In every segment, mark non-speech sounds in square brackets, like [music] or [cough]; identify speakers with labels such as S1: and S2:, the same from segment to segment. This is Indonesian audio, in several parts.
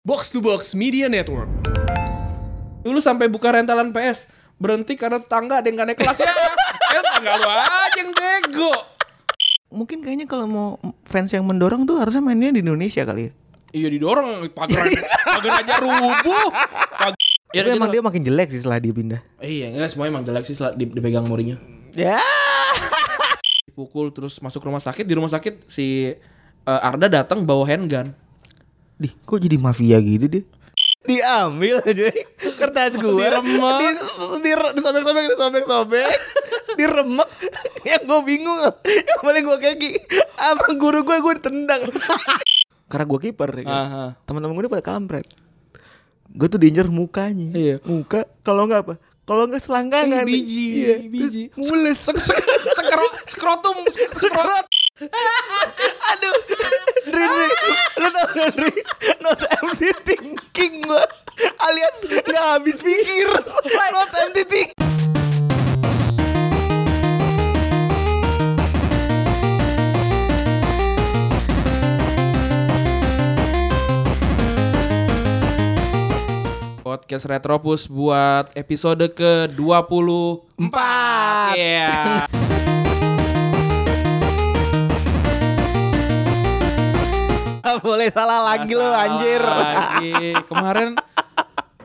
S1: Box to Box Media Network.
S2: Dulu sampai buka rentalan PS berhenti karena tetangga ada yang gak naik kelas ya. Eh, tetangga lu aja yang bego.
S3: mungkin kayaknya kalau mau fans yang mendorong tuh harusnya mainnya di Indonesia kali ya.
S2: Iya didorong pagar pagar aja rubuh. Pag- Ya,
S3: Tapi
S2: gitu.
S3: emang dia makin jelek sih setelah dia pindah.
S2: Iya, enggak semua emang jelek sih setelah di- dipegang morinya.
S3: Ya.
S2: Dipukul terus masuk rumah sakit, di rumah sakit si eh, Arda datang bawa handgun.
S3: Dih, kok jadi mafia gitu dia? Diambil aja kertas gue
S2: Diremek.
S3: di, di, disobek-sobek disobek-sobek diremek yang gue bingung yang paling gue keki sama guru gue gue ditendang karena gue kiper ya kan?
S2: Aha.
S3: teman-teman gue pada kampret gue tuh danger mukanya
S2: Iya.
S3: muka kalau nggak apa kalau nggak selangkangan
S1: biji,
S3: iya.
S2: biji.
S3: Terus mules
S2: Sekro- skrotum sk- skro- [laughs]
S3: Sekrot. Aduh. Dri, Dri. Lu tau gak, Dri? Not empty thinking gue. Alias gak habis pikir. Not empty thinking.
S2: Podcast Retropus buat episode ke-24.
S3: Empat.
S2: [laughs] Iya.
S3: Gak Ah, boleh salah lagi lo
S2: Salah
S3: anjir.
S2: lagi. Kemarin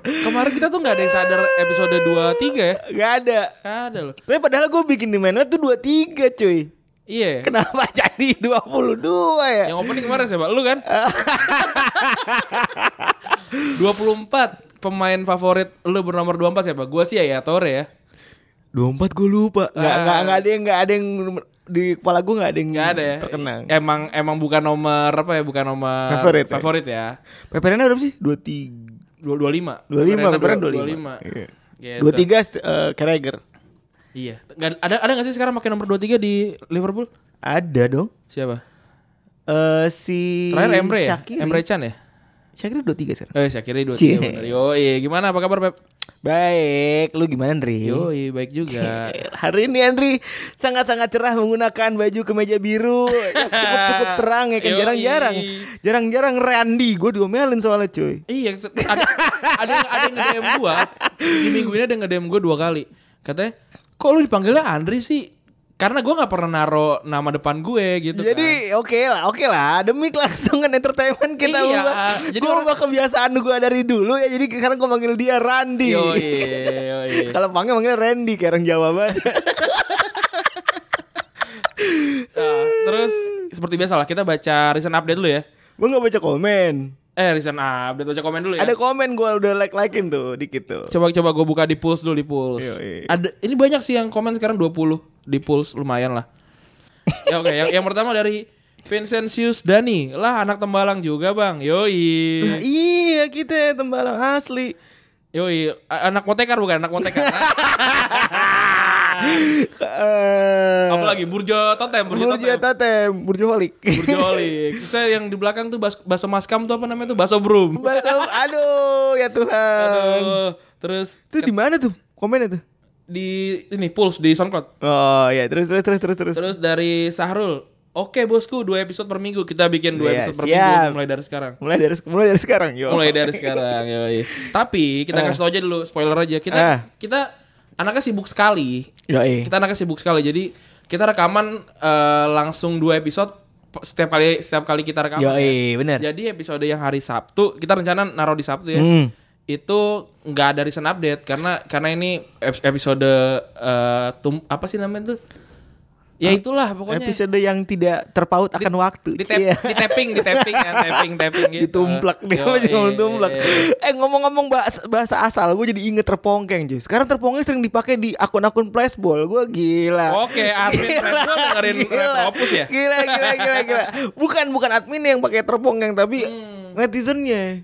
S2: kemarin kita tuh nggak ada yang sadar episode 23 ya.
S3: Gak ada.
S2: Nggak ada loh.
S3: Tapi padahal gue bikin di mana tuh 23 cuy.
S2: Iya.
S3: Kenapa [laughs] jadi 22 ya?
S2: Yang opening kemarin siapa? Lu kan? 24 pemain favorit lu bernomor 24 siapa? Gua sih ya, ya Tore ya.
S3: 24 gue lupa. Gak,
S2: Ah.
S3: gak, gak ada yang gak ada yang di kepala gue gak ada yang
S2: Gak ada ya.
S3: terkenang.
S2: Emang emang bukan nomor apa ya? Bukan nomor
S3: Favorit ya?
S2: favorit ya.
S3: Peperannya berapa sih? 23.
S2: Dua- 25.
S3: 25
S2: Pemerintah
S3: Peperan 25.
S2: 25.
S3: Iya.
S2: Gitu.
S3: 23 st- eh, Carragher.
S2: Iya. Nggak- Ada ada nggak sih sekarang pakai nomor 23 di Liverpool?
S3: Ada dong.
S2: Siapa?
S3: Eh si
S2: Terakhir Emre ya?
S3: Shakiri.
S2: Emre Chan ya?
S3: Shakiri 23 sekarang.
S2: Oh iya, Syakiri 23
S3: Cie.
S2: bener. Yoi, gimana apa kabar Pep?
S3: Baik, lu gimana Andri?
S2: Yoi, baik juga.
S3: Hari ini Andri sangat-sangat cerah menggunakan baju kemeja biru yang cukup-cukup terang ya kan
S2: Yoi.
S3: jarang-jarang jarang-jarang Randy gue diomelin soalnya cuy
S2: iya, itu- ada, ada yang ada yang nge-DM gua. Di minggu ini ada yang nge-DM gua dua kali. Katanya, "Kok lu dipanggilnya Andri sih?" Karena gua nggak pernah naro nama depan gue gitu kan.
S3: jadi oke lah oke lah demi kelangsungan entertainment kita
S2: Iya,
S3: ubah
S2: jadi
S3: gue
S2: orang-
S3: ubah kebiasaan gue dari dulu ya jadi sekarang gue manggil dia Randy
S2: Yoi, yoi.
S3: Kalau panggil manggilnya Randy kayak orang Jawa banget.
S2: [laughs] Nah, terus seperti biasa lah kita baca recent update dulu ya.
S3: gue gak baca komen.
S2: Eh, recent update baca komen dulu ya.
S3: Ada komen gue udah like-likein tuh dikit tuh.
S2: Coba coba gue buka di Pulse dulu di Pulse.
S3: Yoi.
S2: Ada ini banyak sih yang komen sekarang 20 di Pulse lumayan lah. ya oke, yang, yang pertama dari Vincentius Dani. Lah anak Tembalang juga, Bang. Yoi.
S3: Iya kita tembalang asli.
S2: Yoi, A- anak Motekar bukan anak Motekar. Nah, Ah.
S3: Eh,
S2: Apalagi Burjo Totem, Burjo,
S3: Burjo
S2: Totem.
S3: Totem, Burjo Holik.
S2: Burjo Oli. Kita yang di belakang tuh bas baso maskam tuh apa namanya tuh? Baso Brum.
S3: Baso- aduh ya Tuhan.
S2: Aduh. Terus
S3: Itu di mana tuh? Komennya tuh.
S2: di ini Pulse di SoundCloud.
S3: Oh ya terus terus terus terus terus.
S2: Terus dari Sahrul, oke bosku dua episode per minggu kita bikin dua
S3: Iya,
S2: episode per
S3: siap.
S2: minggu mulai dari sekarang.
S3: Mulai dari mulai dari sekarang yo.
S2: Mulai dari sekarang, yoi. Tapi kita kasih tau aja dulu spoiler aja kita
S3: Eh.
S2: kita anaknya sibuk sekali.
S3: Yo, eh.
S2: Kita anaknya sibuk sekali jadi kita rekaman eh, langsung dua episode pe- setiap kali setiap kali kita rekaman.
S3: Yo,
S2: ya.
S3: eh, bener.
S2: Jadi episode yang hari Sabtu kita rencana naruh di Sabtu ya.
S3: Hmm.
S2: Itu nggak ada recent update karena karena ini ep- episode eh, tum, apa sih namanya tuh? Ya itulah pokoknya.
S3: Episode yang tidak terpaut akan waktu. iya.
S2: di, tap,
S3: Cia.
S2: di tapping, di tapping
S3: [laughs]
S2: ya, tapping, tapping gitu.
S3: ditumplak dia
S2: Yoi.
S3: masih ngomong
S2: [laughs]
S3: tumplak eh ngomong-ngomong bahasa, bahasa asal gue jadi inget terpongkeng cuy sekarang terpongkeng sering dipakai di akun-akun flashball gue gila
S2: Oke, admin
S3: [laughs] Gila,
S2: Flashball dengerin Retropus ya?
S3: Gila, gila, gila, gila. Bukan, bukan admin yang pakai terpongkeng tapi
S2: Hmm.
S3: netizennya. [laughs]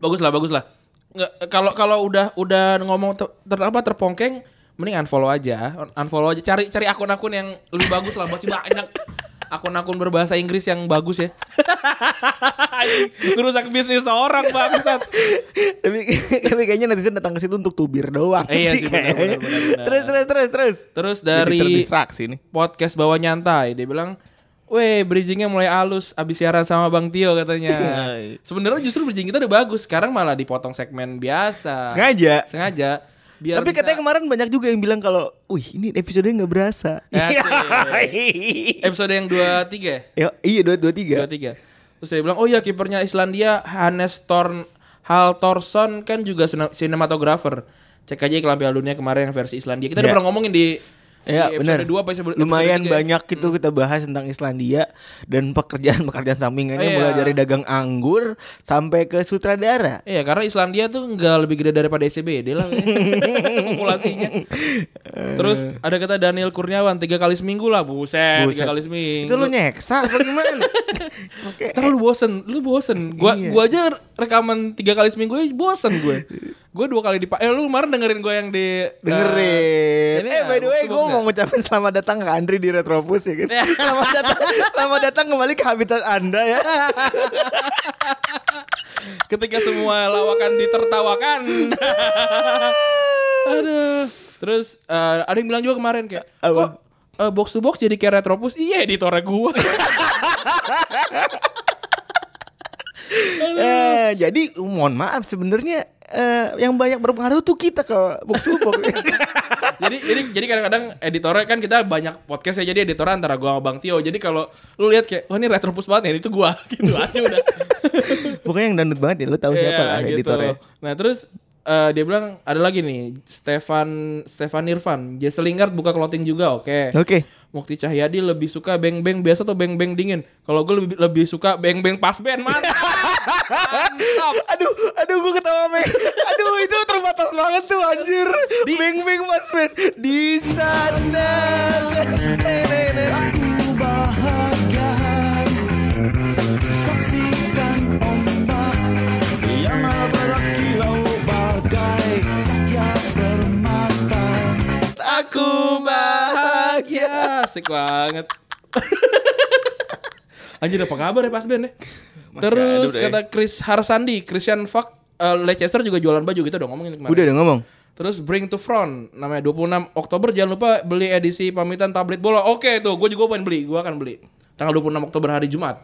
S2: Bagus lah, bagus lah. Nggak, kalau kalau udah udah ngomong ter, ter- apa terpongkeng, mending unfollow aja, Un- unfollow aja. Cari cari akun-akun yang lebih bagus lah, masih banyak akun-akun berbahasa Inggris yang bagus ya. Ngerusak bisnis orang bangsat.
S3: tapi, tapi kayaknya netizen datang ke situ untuk tubir doang.
S2: Iya sih, benar,
S3: kayaknya.
S2: benar, benar, benar.
S3: Terus, terus, terus, terus.
S2: Terus
S3: Jadi
S2: dari
S3: terdistraksi nih.
S2: podcast bawah nyantai, dia bilang Weh, bridgingnya mulai halus abis siaran sama Bang Tio katanya.
S3: Hai.
S2: Sebenarnya justru bridging kita udah bagus. Sekarang malah dipotong segmen biasa.
S3: Sengaja.
S2: Sengaja. Biar
S3: Tapi
S2: bisa-
S3: katanya kemarin banyak juga yang bilang kalau, "Wih, ini episodenya nggak berasa." [laughs] Iya.
S2: Asik. episode yang 23 ya?
S3: Yo, iya dua dua tiga.
S2: 23. Terus saya bilang, "Oh iya kipernya Islandia Hannes Thorn Haltorsson kan juga sina- sinematografer. Cek aja iklan Piala Dunia kemarin yang versi Islandia. Kita udah
S3: Ya.
S2: pernah ngomongin di
S3: Ya
S2: di
S3: benar.
S2: episode 2 apa episode
S3: Lumayan
S2: episode tiga ya?
S3: banyak itu kita bahas tentang Islandia dan [laughs] pekerjaan-pekerjaan sampingannya
S2: Iya.
S3: mulai dari dagang anggur sampai ke sutradara.
S2: Iya karena Islandia tuh nggak lebih gede daripada SCBD lah
S3: [laughs]
S2: kayaknya. populasinya. Terus ada kata Daniel Kurniawan tiga kali seminggu lah buset,
S3: Buset.
S2: tiga kali seminggu.
S3: Itu lu nyeksa
S2: [laughs]
S3: apa gimana? Oke.
S2: Ntar lu bosen, lu bosen. Gua
S3: Iya.
S2: gua aja rekaman tiga kali seminggu aja bosen gue. Gue dua kali di eh lu kemarin dengerin gue yang di
S3: Dengerin.
S2: Ini
S3: eh by the way
S2: sibuk
S3: gue mau
S2: nggak?
S3: ngucapin selamat datang ke Andri di
S2: [laughs]
S3: Retropus ya kan.
S2: Ya.
S3: selamat datang selamat datang kembali ke habitat Anda ya.
S2: ketika semua lawakan
S3: [laughs]
S2: ditertawakan. Aduh. Terus eh, ada yang bilang juga kemarin kayak
S3: Apa?
S2: kok eh, box to box jadi kayak retropus? Iya editornya gua. [laughs]
S3: Eh, jadi mohon maaf sebenarnya eh, yang banyak berpengaruh tuh kita ke box to
S2: [laughs]
S3: box.
S2: jadi jadi jadi kadang-kadang editornya kan kita banyak podcast ya jadi editornya antara gua sama Bang Tio. Jadi kalau lu lihat kayak wah ini retropus banget ya itu gua [laughs] gitu aja udah.
S3: [laughs] Pokoknya yang dandut banget ya lu tahu siapa
S2: Iya,
S3: lah
S2: gitu.
S3: editornya.
S2: Nah, terus eh, dia bilang ada lagi nih Stefan Stefan Irfan, Jesse Lingard buka clothing juga, oke.
S3: Oke.
S2: Mukti Cahyadi lebih suka beng-beng biasa atau beng-beng dingin? Kalau gue lebih, lebih suka beng-beng pas band,
S3: [laughs]
S2: mantap. mantap.
S3: Aduh, aduh gue ketawa Meng. Aduh itu terbatas banget tuh anjir. Di... Beng beng mas Ben. Di sana.
S4: Aku bahagia Saksikan ombak Yang berkilau bagai Cahaya bermata
S2: Aku bahagia. Asik
S3: [laughs]
S2: banget. Anjir apa kabar ya pas band ya?
S3: Masih
S2: Terus
S3: ada udah ya.
S2: kata Chris Harsandi, Christian Fuck, eh, Leicester juga jualan baju kita udah ngomongin kemarin.
S3: Udah udah ngomong.
S2: Terus Bring to Front namanya 26 Oktober jangan lupa beli edisi pamitan tablet bola. Oke tuh, gue juga pengen beli, gue akan beli. Tanggal 26 Oktober hari Jumat.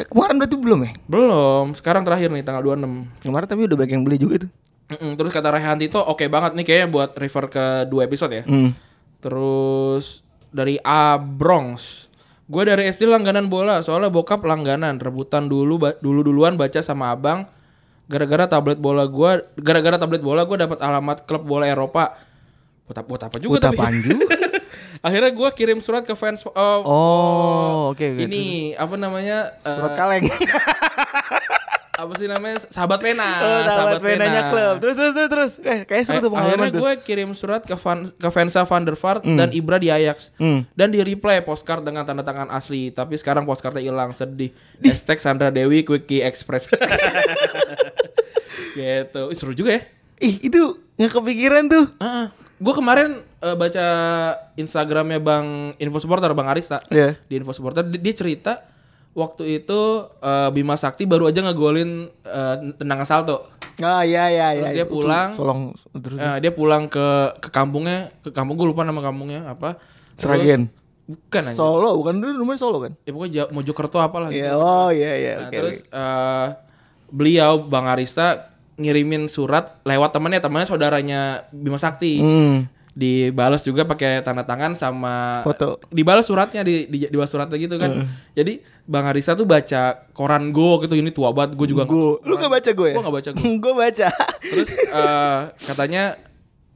S3: Eh, kemarin berarti belum ya?
S2: Belum, sekarang terakhir nih tanggal 26.
S3: Kemarin tapi udah banyak yang beli juga tuh.
S2: Mm-mm, terus kata Rehan Tito oke banget nih kayaknya buat refer ke dua episode ya.
S3: Hmm.
S2: Terus dari A Bronx. Gue dari SD langganan bola, soalnya bokap langganan rebutan dulu dulu duluan baca sama abang. Gara-gara tablet bola gua, gara-gara tablet bola gua dapat alamat klub bola Eropa. Buat, ap- buat apa juga
S3: Buat apaan juga?
S2: [laughs] Akhirnya gua kirim surat ke fans eh,
S3: Oh, oke oke.
S2: ini apa namanya? eh,
S3: surat kaleng.
S2: apa sih namanya? Sahabat pena.
S3: Oh, sahabat penanya klub. Terus terus terus terus. Eh, kayaknya seru tuh
S2: Eh,
S3: pengalaman
S2: akhirnya
S3: tuh.
S2: gue kirim surat ke Van, ke Vansa van der Vaart dan Ibra di Ajax
S3: Hmm.
S2: dan di reply postcard dengan tanda tangan asli tapi sekarang postcardnya hilang sedih hashtag Sandra Dewi Quickie Express [laughs] gitu Ih, seru juga ya
S3: Ih, itu nggak kepikiran tuh.
S2: gue kemarin eh, baca Instagramnya Bang Info Supporter Bang Arista
S3: Iya.
S2: di Info Supporter di- dia cerita waktu itu eh, Bima Sakti baru aja ngegolin eh, tendangan salto
S3: Ah, iya iya iya.
S2: dia
S3: Itu
S2: pulang.
S3: Solong terus.
S2: Eh, dia pulang ke ke kampungnya, ke kampung gue lupa nama kampungnya apa. Terus-
S3: Sragen.
S2: Bukan aja.
S3: Solo bukan dulu rumah Solo kan?
S2: ya pokoknya Jawa, Mojokerto apalah gitu.
S3: Iya, oh iya iya.
S2: Nah,
S3: oke,
S2: terus
S3: oke.
S2: eh, beliau Bang Arista ngirimin surat lewat temannya, temannya saudaranya Bima Sakti.
S3: Hmm.
S2: Dibalas juga pakai tanda tangan sama
S3: Foto.
S2: Dibalas suratnya di, di dibalas suratnya gitu kan. Jadi Bang Arista tuh baca koran Go gitu ini tua banget gue juga. nggak-
S3: Gue, lu gak baca gue ya?
S2: Gua nggak
S3: [laughs]
S2: baca
S3: gue. gue baca.
S2: Terus eh, katanya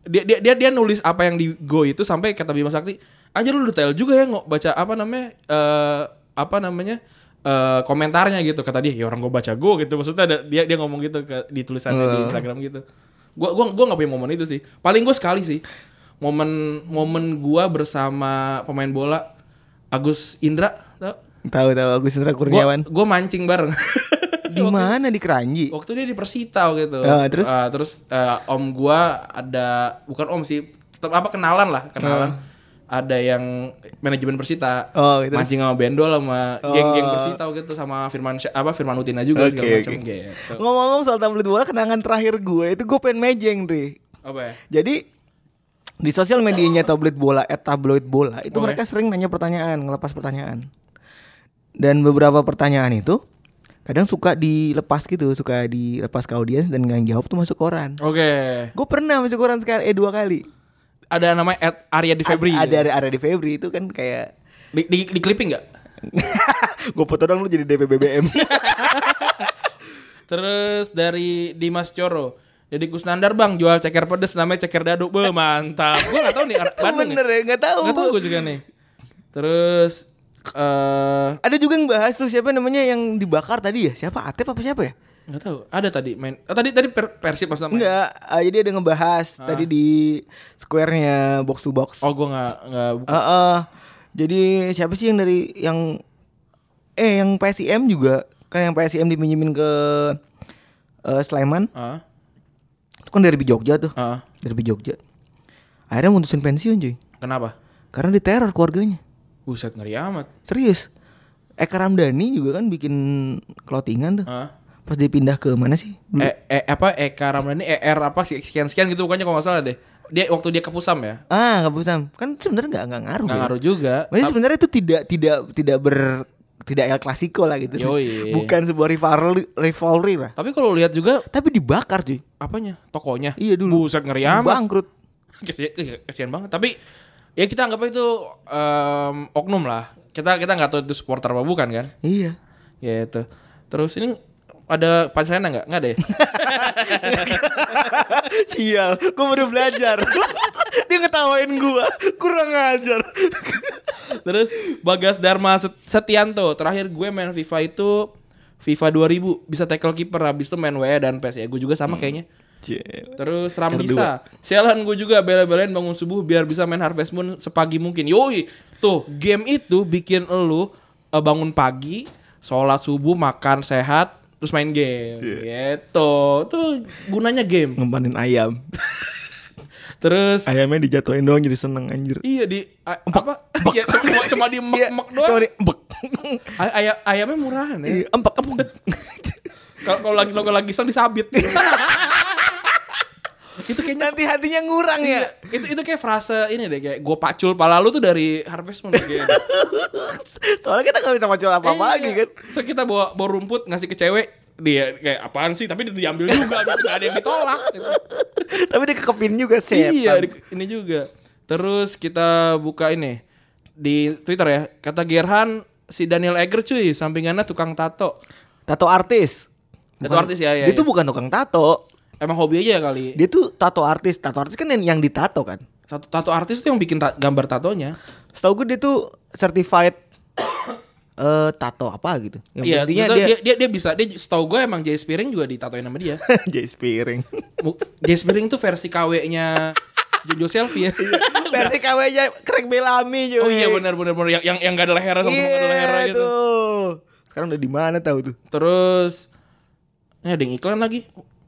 S2: dia, dia dia dia nulis apa yang di Go itu sampai kata Bima Sakti, aja lu detail juga ya nggak baca apa namanya eh apa namanya eh komentarnya gitu kata dia ya orang gue baca Go gitu maksudnya ada, dia dia ngomong gitu ke di tulisannya di Instagram gitu. Gua gua gua nggak punya momen itu sih. Paling gue sekali sih momen momen gua bersama pemain bola Agus Indra tau?
S3: Tahu tahu Agus Indra
S2: Gua,
S3: Kurniawan.
S2: gua mancing bareng. [laughs]
S3: Di mana di Keranji?
S2: waktu dia di Persita gitu.
S3: Ah, terus?
S2: Ah, terus eh, om gua ada bukan om sih, tetap apa kenalan lah, kenalan. Ada yang manajemen Persita.
S3: Ah. Oh, gitu.
S2: Mancing sama Bendol sama geng-geng
S3: Oh.
S2: Persita gitu sama Firman Sy- apa Firman Utina juga
S3: Oke,
S2: segala macam
S3: oke.
S2: gitu.
S3: Ngomong-ngomong soal tablet bola, kenangan terakhir gue itu gue pengen mejeng, Dri.
S2: Apa ya?
S3: Jadi di sosial medianya tabloid bola, at tabloid bola itu
S2: Oke.
S3: mereka sering nanya pertanyaan, ngelepas pertanyaan. Dan beberapa pertanyaan itu kadang suka dilepas gitu, suka dilepas ke audiens dan nggak jawab tuh masuk koran.
S2: Oke.
S3: Gue pernah masuk koran sekali, eh dua kali.
S2: Ada namanya Ed Arya di Febri. ya?
S3: Ada ada ada di Febri itu kan kayak [laughs]
S2: Di, di, di clipping nggak?
S3: gue foto dong lu jadi DP BBM.
S2: Terus dari Dimas Coro. Jadi Kusnandar bang jual ceker pedes namanya ceker daduk. Be, mantap. Gue gak tahu nih
S3: [laughs]
S2: anak Bandung
S3: [laughs] Bener ya, nggak tahu.
S2: Gak tahu gue juga nih. Terus eh
S3: Ada juga yang bahas tuh siapa namanya yang dibakar tadi ya? Siapa Atep apa siapa ya?
S2: nggak tahu. Ada tadi main. Oh, tadi tadi per, Persib pas main. Ah.
S3: Enggak, eh, jadi ada ngebahas tadi di square-nya box to box.
S2: Oh gue nggak nggak. buka.
S3: Ah, ah. jadi siapa sih yang dari yang eh yang PSIM juga kan yang PSIM dipinjemin ke eh, Sleman
S2: Ah
S3: itu kan dari Jogja tuh
S2: ah.
S3: dari Jogja akhirnya mutusin pensiun cuy
S2: Kenapa?
S3: karena diteror keluarganya
S2: Buset ngeri amat.
S3: serius Eka Ramdhani juga kan bikin clothingan tuh
S2: Ah.
S3: pas dia pindah ke mana sih
S2: E, e, apa Eka Ramdhani ER apa sih sekian sekian gitu bukannya kalau nggak salah deh. Dia waktu dia ke Pusam ya.
S3: ah nggak Pusam kan sebenarnya nggak nggak ngaruh
S2: Nggak
S3: ya.
S2: ngaruh juga.
S3: Maksudnya sebenarnya itu tidak tidak tidak ber tidak El Clasico lah gitu.
S2: Yoi.
S3: Bukan sebuah rivalry rivalry lah.
S2: Tapi kalau lihat juga
S3: Tapi dibakar cuy.
S2: apanya? Tokonya.
S3: Iya dulu.
S2: Buset ngeri amat.
S3: Bangkrut.
S2: Kesian, kesian banget. Tapi ya kita anggap itu em, oknum lah. Kita kita nggak tahu itu supporter apa bukan kan?
S3: Iya.
S2: Gitu. Terus ini ada pancelan nggak? Nggak ada ya?
S3: [laughs] Sial, gue baru [laughs] belajar. Dia ngetawain gua, kurang ajar.
S2: [laughs] Terus Bagas Dharma Set- Setianto Terakhir gue main FIFA itu FIFA 2000 Bisa tackle kiper Habis itu main WE dan PS ya Gue juga sama kayaknya Terus Ramdisa Sialan gue juga bela-belain bangun subuh Biar bisa main Harvest Moon sepagi mungkin Yoi Tuh game itu bikin elu eh, bangun pagi Sholat subuh Makan sehat Terus main game Gitu Tuh gunanya game
S3: Ngempanin ayam.
S2: Terus
S3: Ayamnya dijatuhin doang jadi seneng anjir.
S2: Iya di a- apa? Iya, cuma, cuma di mek doang.
S3: Cuma di [laughs] empek.
S2: Ay- ayam- ayamnya murahan ya.
S3: Iya, empek empek.
S2: Kalau kalau lagi logo lagi sang
S3: [laughs]
S2: disabit. itu kayaknya
S3: Nanti hatinya ngurang ya.
S2: itu itu kayak frase ini deh kayak gue pacul pala lu tuh dari Harvest Moon
S3: [laughs]
S2: kayak gitu.
S3: Soalnya kita nggak bisa macul apa-apa
S2: Iya.
S3: lagi [laughs] kan.
S2: Terus kita bawa bawa rumput ngasih ke cewek dia kayak apaan sih tapi dia diambil juga gitu. Nggak ada yang ditolak. gitu.
S3: Tapi dia kekepin juga setan.
S2: Iya di- ini juga. Terus kita buka ini di Twitter ya kata Gerhan si Daniel Eger cuy sampingannya tukang tato.
S3: Tato artis.
S2: Tato artis ya, ya,
S3: Dia
S2: ya.
S3: tuh bukan tukang tato.
S2: Emang hobi aja ya kali.
S3: Dia tuh tato artis. Tato artis kan yang, yang ditato kan.
S2: Satu tato artis tuh yang bikin ta- gambar tatonya.
S3: Setahu gue dia tuh certified [coughs] eh tato apa gitu. Yang
S2: Iya,
S3: intinya
S2: betul,
S3: dia,
S2: dia...
S3: [laughs]
S2: dia dia bisa. Dia setahu gue emang Jay Spiring juga ditatoin sama dia.
S3: Jais piring.
S2: Mu- Jay Spiring tuh versi KW-nya Jojo Selfie ya.
S3: Versi KW nya Craig Bellamy cuy.
S2: [laughs] oh iya benar benar benar yang yang yang gak ada lehernya sama
S3: Iya
S2: sama ada lehernya gitu.
S3: tuh. Sekarang udah di mana tahu tuh?
S2: Terus ini ada yang iklan lagi.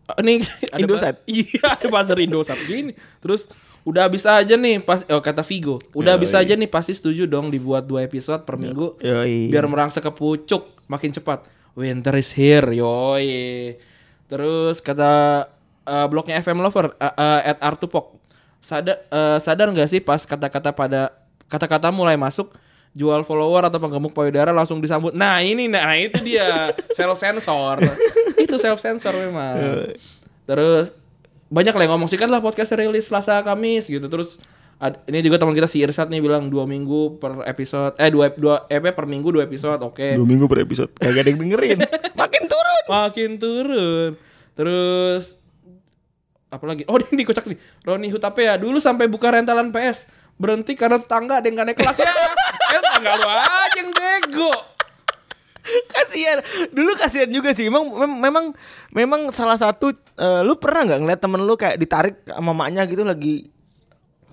S2: Ah, Ini [laughs] ada
S3: Indosat.
S2: ba- Iya, ada buzzer Indosat gini. Terus udah habis aja nih pas oh kata Vigo. Udah habis aja nih pasti setuju dong dibuat dua episode per minggu.
S3: Yoi.
S2: biar merangsek ke pucuk makin cepat. Winter is here, yoi. Terus kata eh, blognya FM Lover eh, eh, at Artupok. Sadar eh, sadar nggak sih pas kata-kata pada kata-kata mulai masuk jual follower atau penggemuk payudara langsung disambut. Nah ini nah itu dia self sensor. itu self sensor memang. Terus banyak lah yang ngomong sikat lah podcast rilis Selasa Kamis gitu terus ad- ini juga teman kita si Irsat nih bilang dua minggu per episode eh dua dua EP per minggu dua episode oke
S3: Dua minggu per episode. Kagak ada yang
S2: [laughs]
S3: dengerin. Makin turun.
S2: makin turun terus apalagi oh [laughs] ini kocak nih Roni Hutapea dulu sampai buka rentalan PS berhenti karena tetangga ada yang gak naik kelas ya [laughs] eh, tetangga lu aja yang bego
S3: kasihan dulu kasihan juga sih memang mem- memang memang salah satu eh, lu pernah nggak ngeliat temen lu kayak ditarik sama mamanya gitu lagi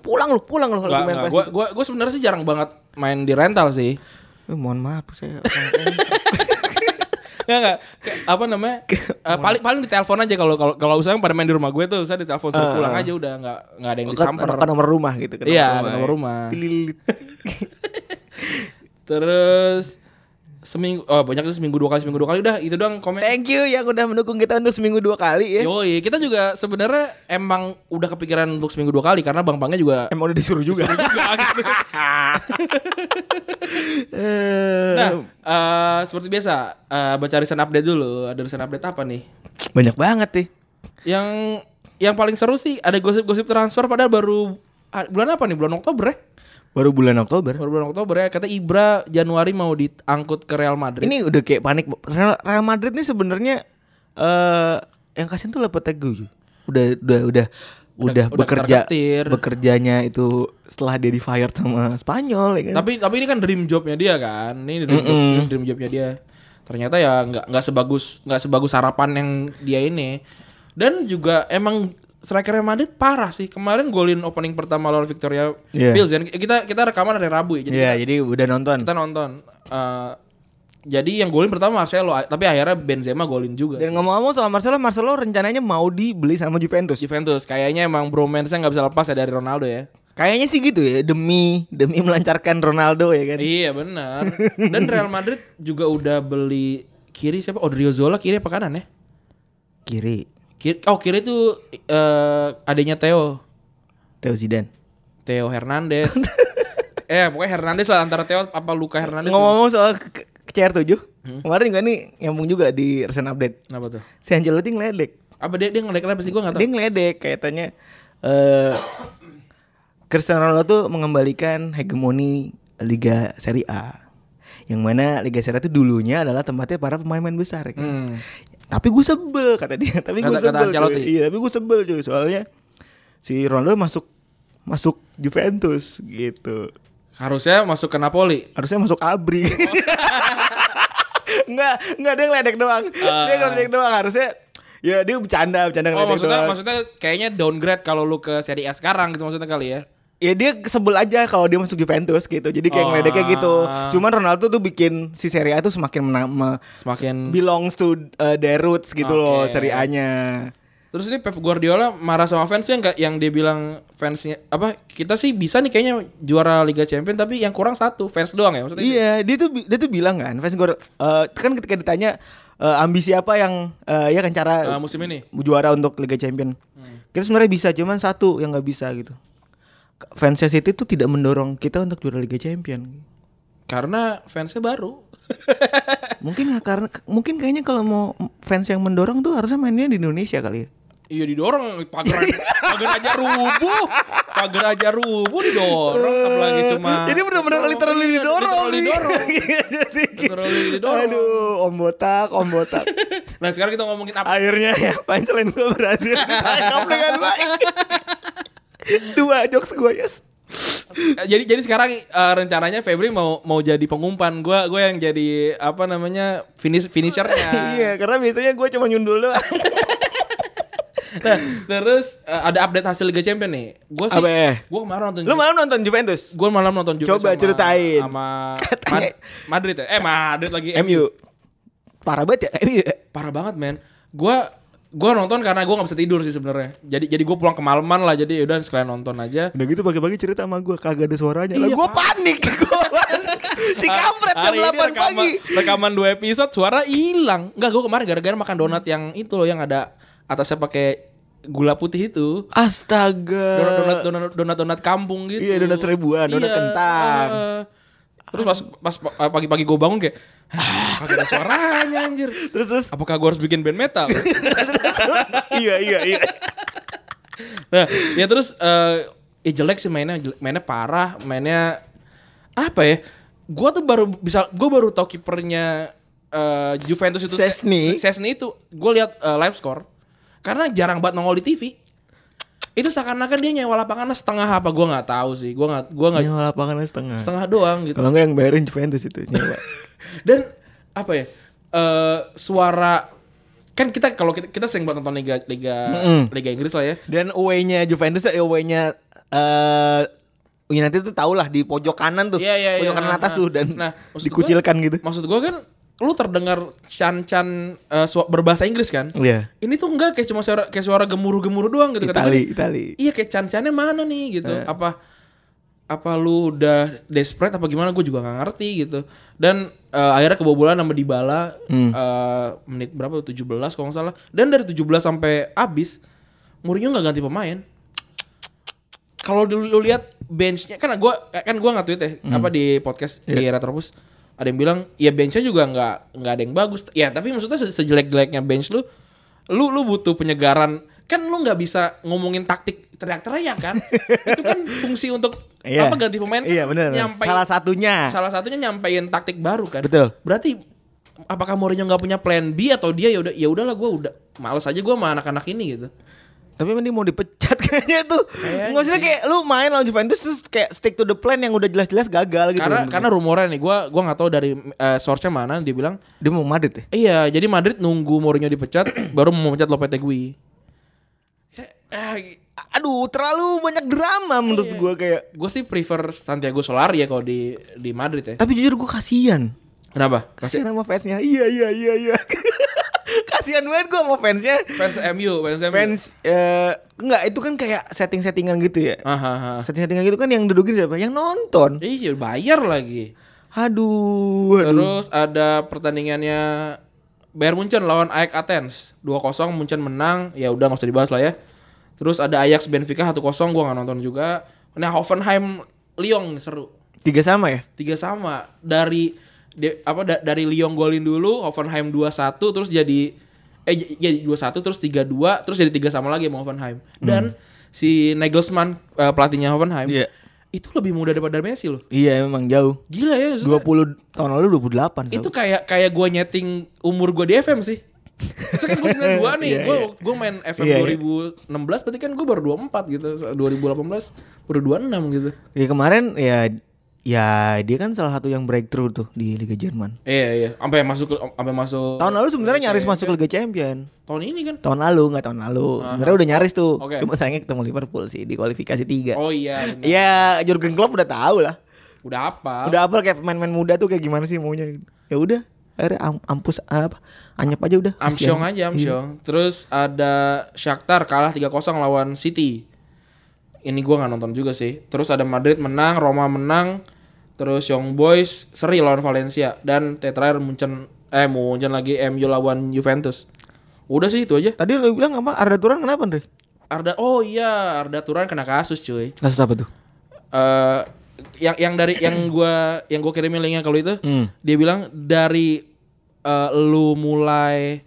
S3: pulang lu pulang lu lagi
S2: Gak,
S3: main
S2: gak.
S3: PS
S2: Gua, gua, gua sebenarnya sih jarang banget main di rental sih
S3: Eh, mohon maaf saya [laughs]
S2: Nggak, Ya nggak. Kayak apa namanya? Eh, paling paling ditelepon aja kalau kalau kalau usah pada main di rumah gue tuh usah ditelepon suruh
S3: Ah.
S2: pulang aja udah nggak nggak ada yang Iya,
S3: Kan-
S2: disamper.
S3: kan nomor rumah gitu kan
S2: Iya, nomor rumah.
S3: Tililit.
S2: [laughs] Terus seminggu oh banyak tuh seminggu dua kali seminggu dua kali udah itu doang komen
S3: Thank you yang udah mendukung kita untuk seminggu dua kali ya.
S2: Yoi, kita juga sebenarnya emang udah kepikiran untuk seminggu dua kali karena Bang Pangnya
S3: [laughs]
S2: juga
S3: Emang udah disuruh juga. Eh,
S2: Nah, eh, seperti biasa, eh, baca risan update dulu. Ada risan update apa nih?
S3: banyak banget nih.
S2: Yang yang paling seru sih ada gosip-gosip transfer padahal baru ah, bulan apa nih? Bulan Oktober ya?
S3: Baru bulan Oktober.
S2: Baru bulan Oktober ya. Kata Ibra Januari mau diangkut ke Real Madrid.
S3: Ini udah kayak panik. Real Real Madrid nih sebenarnya eh yang kasihan tuh Lepetegu. Udah udah udah udah,
S2: udah
S3: bekerja
S2: ketar-ketir.
S3: bekerjanya itu setelah dia di fire sama Spanyol ya kan.
S2: Tapi tapi ini kan dream jobnya dia kan. Ini dream, job- dream jobnya dia. Ternyata ya nggak nggak sebagus nggak sebagus harapan yang dia ini. Dan juga emang striker Real Madrid parah sih. Kemarin golin opening pertama lawan Victoria
S3: Iya.
S2: Bills. Dan kita kita rekaman hari Rabu ya. Jadi
S3: Iya, jadi udah nonton.
S2: kita nonton. Eh, jadi yang golin pertama Marcelo, a- tapi akhirnya Benzema golin juga.
S3: Dan
S2: sih.
S3: ngomong-ngomong soal Marcelo, Marcelo rencananya mau dibeli sama Juventus.
S2: Juventus kayaknya emang bromance-nya nggak bisa lepas ya dari Ronaldo ya.
S3: Kayaknya sih gitu ya, demi demi melancarkan Ronaldo ya kan.
S2: Iya benar. Dan Real Madrid juga udah beli kiri siapa? Odriozola kiri apa kanan ya?
S3: Kiri,
S2: Kiri, oh kiri itu eh adanya Theo,
S3: Theo Zidane.
S2: Theo Hernandez. [laughs] eh pokoknya Hernandez lah antara Theo apa Luka Hernandez.
S3: Ngomong-ngomong soal ke, ke CR7,
S2: Hmm.
S3: kemarin juga nih nyambung juga di recent update.
S2: Kenapa tuh?
S3: Si Ancelotti ngeledek.
S2: Apa dia dia ngelag apa sih gue nggak tahu.
S3: Dia ngeledek kaitannya eh Cristiano Ronaldo tuh mengembalikan hegemoni Liga Serie A. Yang mana Liga Serie A itu dulunya adalah tempatnya para pemain-pemain besar ya kan.
S2: Hmm.
S3: Tapi gue sebel kata dia. [laughs] Tapi gue
S2: Kata- kata
S3: sebel.
S2: Ancelotti.
S3: cuy. Iya, tapi gue sebel cuy soalnya si Ronaldo masuk masuk Juventus gitu.
S2: Harusnya masuk ke Napoli.
S3: Harusnya masuk Abri.
S2: Oh.
S3: [laughs] Enggak, enggak dia ngeledek doang. Dia ngeledek doang harusnya. Ya dia bercanda, bercanda
S2: Ah. Oh
S3: ngeledek
S2: maksudnya
S3: doang.
S2: maksudnya kayaknya downgrade kalau lu ke Serie A sekarang gitu maksudnya kali ya.
S3: Ya dia sebel aja kalau dia masuk Juventus gitu. Jadi kayak
S2: Oh.
S3: ngeledeknya gitu. Cuman Ronaldo tuh bikin si Serie A tuh semakin mena- me-
S2: Semakin
S3: belongs to uh, their roots gitu loh
S2: Oke.
S3: Serie A-nya.
S2: Terus ini Pep Guardiola marah sama fans yang nggak yang dia bilang fansnya apa kita sih bisa nih kayaknya juara Liga Champions tapi yang kurang satu fans doang ya maksudnya.
S3: Iya, dia tuh bi- dia tuh bilang kan, fans gue kan ketika ditanya eh, ambisi apa yang eh, ya kan cara
S2: Eh, musim ini.
S3: juara untuk Liga Champion.
S2: Hmm.
S3: Kita sebenarnya bisa, cuman satu yang nggak bisa gitu. Fansnya City tuh tidak mendorong kita untuk juara Liga Champion.
S2: Karena fansnya baru.
S3: mungkin nggak karena mungkin kayaknya kalau mau fans yang mendorong tuh harusnya mainnya di Indonesia kali ya.
S2: Iya didorong pagar pagar aja rubuh, pagar aja rubuh didorong apalagi
S3: [laughs]
S2: cuma.
S3: Jadi benar-benar literally
S2: Iya,
S3: didorong.
S2: literally didorong.
S3: [laughs] Jadi kayak-
S2: Literally didorong.
S3: Aduh, om botak, om
S2: [laughs]
S3: botak.
S2: Nah sekarang kita ngomongin apa?
S3: Akhirnya ya pancelan gue berhasil ditangkap dengan baik. [laughs] Dua jokes gue yes.
S2: Eh, jadi jadi sekarang eh, rencananya Febri mau mau jadi pengumpan. Gua gue yang jadi apa namanya finish finishernya.
S3: Iya, karena biasanya gue cuma nyundul doang.
S2: Nah, terus eh, ada update hasil Liga Champion nih. Gue sih,
S3: Apa ya?
S2: gue kemarin nonton.
S3: Lu malam nonton Juventus?
S2: Gue malam nonton juga
S3: Coba ceritain.
S2: sama
S3: [laughs] Katanya-
S2: Mad- Madrid ya. Eh Madrid lagi.
S3: MU. Parah banget ya MU. ya?
S2: Parah banget men. Gue gue nonton karena gue nggak bisa tidur sih sebenarnya. Jadi jadi gue pulang kemalaman lah. Jadi udah sekalian nonton aja.
S3: Udah gitu pagi-pagi cerita sama gue kagak ada suaranya. Lah
S2: Iya,
S3: gue panik, [laughs] gue panik. Si kampret jam
S2: Hari ini
S3: 8
S2: rekaman-
S3: pagi.
S2: Rekaman dua episode suara hilang. Enggak gue kemarin gara-gara makan donat yang itu loh yang ada atasnya pakai gula putih itu.
S3: Astaga.
S2: donat donat donat donat donat kampung gitu
S3: Iya, donat seribuan, donat kentang.
S2: heeh. terus pas pas pa- pagi-pagi gue bangun kayak "Hah, kagak ada suaranya anjir
S3: Terus terus.
S2: apakah gue harus bikin band
S3: [laughs]
S2: metal
S3: terus. iya iya iya.
S2: nah ya terus eh ya jelek sih mainnya jelek- mainnya parah mainnya apa ya gue tuh baru bisa gue baru tau kipernya eh, Juventus itu
S3: Szczesny.
S2: Sesni itu gue lihat eh, live score karena jarang banget nongol di TV itu seakan-akan dia nyewa lapangannya setengah apa gue nggak tahu sih gue nggak gue nggak
S3: Nyewa lapangan setengah.
S2: setengah doang gitu
S3: Kalau nggak yang bayarin Juventus itu nyewa.
S2: dan apa ya eh suara kan kita kalau kita, kita sering buat nonton liga liga liga Inggris lah ya
S3: [laughs] Dan away-nya Juventus, eh, away-nya eh United tuh tau lah di pojok kanan tuh,
S2: Iya, iya, iya.
S3: pojok kanan
S2: Nah,
S3: atas tuh dan
S2: nah, maksud
S3: dikucilkan gitu.
S2: maksud gua kan lu terdengar can-can eh, su- berbahasa Inggris kan
S3: Iya.
S2: ini tuh enggak kayak cuma suara kayak suara gemuruh gemuruh doang gitu
S3: Itali,
S2: Kata gua,
S3: Itali.
S2: iya kayak can-cannya mana nih gitu apa apa lu udah desperate apa gimana gue juga nggak ngerti gitu dan eh, akhirnya kebobolan sama Dybala eh, menit berapa 17 kalau nggak salah dan dari 17 sampai habis Mourinho nggak ganti pemain kalau dulu lu lihat benchnya kan gue kan gue nggak tweet ya
S3: Hmm.
S2: apa di podcast di
S3: Iya.
S2: Retropus ada yang bilang ya benchnya juga nggak nggak ada yang bagus ya tapi maksudnya se- sejelek-jeleknya bench lu lu lu butuh penyegaran kan lu nggak bisa ngomongin taktik teriak-teriak
S3: [laughs]
S2: kan itu kan fungsi untuk
S3: Iya.
S2: apa ganti pemain kan
S3: Iya benar.
S2: nyampai-
S3: Salah satunya.
S2: salah satunya nyampein taktik baru kan
S3: Betul.
S2: berarti apakah Mourinho nggak punya plan B atau dia ya udah ya udahlah gue udah males aja gue sama anak-anak ini gitu
S3: Tapi mending mau dipecat [laughs] kayaknya tuh. Maksudnya kayak lu main lawan Juventus terus kayak stick to the plan yang udah jelas-jelas gagal gitu.
S2: karena
S3: loh.
S2: karena rumornya nih gue gua nggak tahu dari eh, source-nya mana dia bilang
S3: dia mau Madrid ya.
S2: iya jadi Madrid nunggu Mourinho dipecat [clears throat] baru mau memecat Lopetegui eh,
S3: Aduh, terlalu banyak drama menurut gua kayak.
S2: gue sih prefer Santiago Solari ya kalau di di Madrid ya
S3: Tapi jujur gua kasihan.
S2: kenapa
S3: Kasihan sama fansnya. Iya iya iya iya. [laughs] kasihan banget gua sama fansnya.
S2: fans MU fans MU
S3: Fans eh enggak itu kan kayak setting-settingan gitu ya.
S2: Aha, aha.
S3: Setting-settingan gitu kan yang dudukin siapa? Yang nonton.
S2: iya bayar lagi
S3: Aduh, aduh.
S2: Terus ada pertandingannya Bayern Munchen lawan Ajax Athens 2-0 Munchen menang ya udah nggak usah dibahas lah ya. Terus ada Ajax Benfica 1-0 gua nggak nonton juga. Nah Hoffenheim Lyon seru.
S3: Tiga sama ya?
S2: Tiga sama dari di- apa da- dari Lyon golin dulu Hoffenheim 2-1 terus jadi eh j- jadi 2-1 terus 3-2 terus jadi tiga sama lagi sama Hoffenheim. Dan si Nagelsmann eh, pelatihnya Hoffenheim
S3: Iya.
S2: itu lebih muda daripada Messi loh.
S3: Iya, emang jauh.
S2: Gila ya maksudnya.
S3: 20 tahun lalu 28
S2: itu
S3: itu
S2: kayak kayak gue nyeting umur gue di FM sih. Itu kan gue [laughs] 92 nih,
S3: Iya,
S2: gue
S3: iya.
S2: gue main FM
S3: Iya,
S2: 2016
S3: iya.
S2: berarti kan gue baru 24 gitu, 2018 baru 26 gitu.
S3: ya kemarin ya ya dia kan salah satu yang breakthrough tuh di Liga Jerman
S2: Iya iya, sampai masuk ke- sampai masuk
S3: tahun lalu sebenarnya nyaris masuk Liga Champion
S2: tahun ini kan.
S3: tahun lalu nggak tahun lalu sebenarnya udah nyaris tuh
S2: Oke.
S3: cuma sayangnya ketemu Liverpool sih di kualifikasi tiga
S2: Oh iya, bener.
S3: ya Jurgen Klopp udah tahu lah
S2: udah apa?
S3: udah apa kayak pemain-pemain muda tuh kayak gimana sih maunya ya udah akhirnya am, ampus apa anyep aja udah
S2: Amsyong
S3: Kasihan.
S2: aja Amsyong. Terus ada Shakhtar kalah 3-0 lawan City. Ini gua nggak nonton juga sih. Terus ada Madrid menang, Roma menang, terus Young Boys seri lawan Valencia dan terakhir Munchen eh Munchen lagi MU lawan Juventus. Udah sih itu aja.
S3: tadi lu bilang apa Arda Turan kenapa Andre
S2: Arda oh iya, Arda Turan kena kasus cuy.
S3: kasus apa tuh
S2: eh yang yang dari yang gua yang gua kirimin linknya kalau itu dia bilang dari eh, lu mulai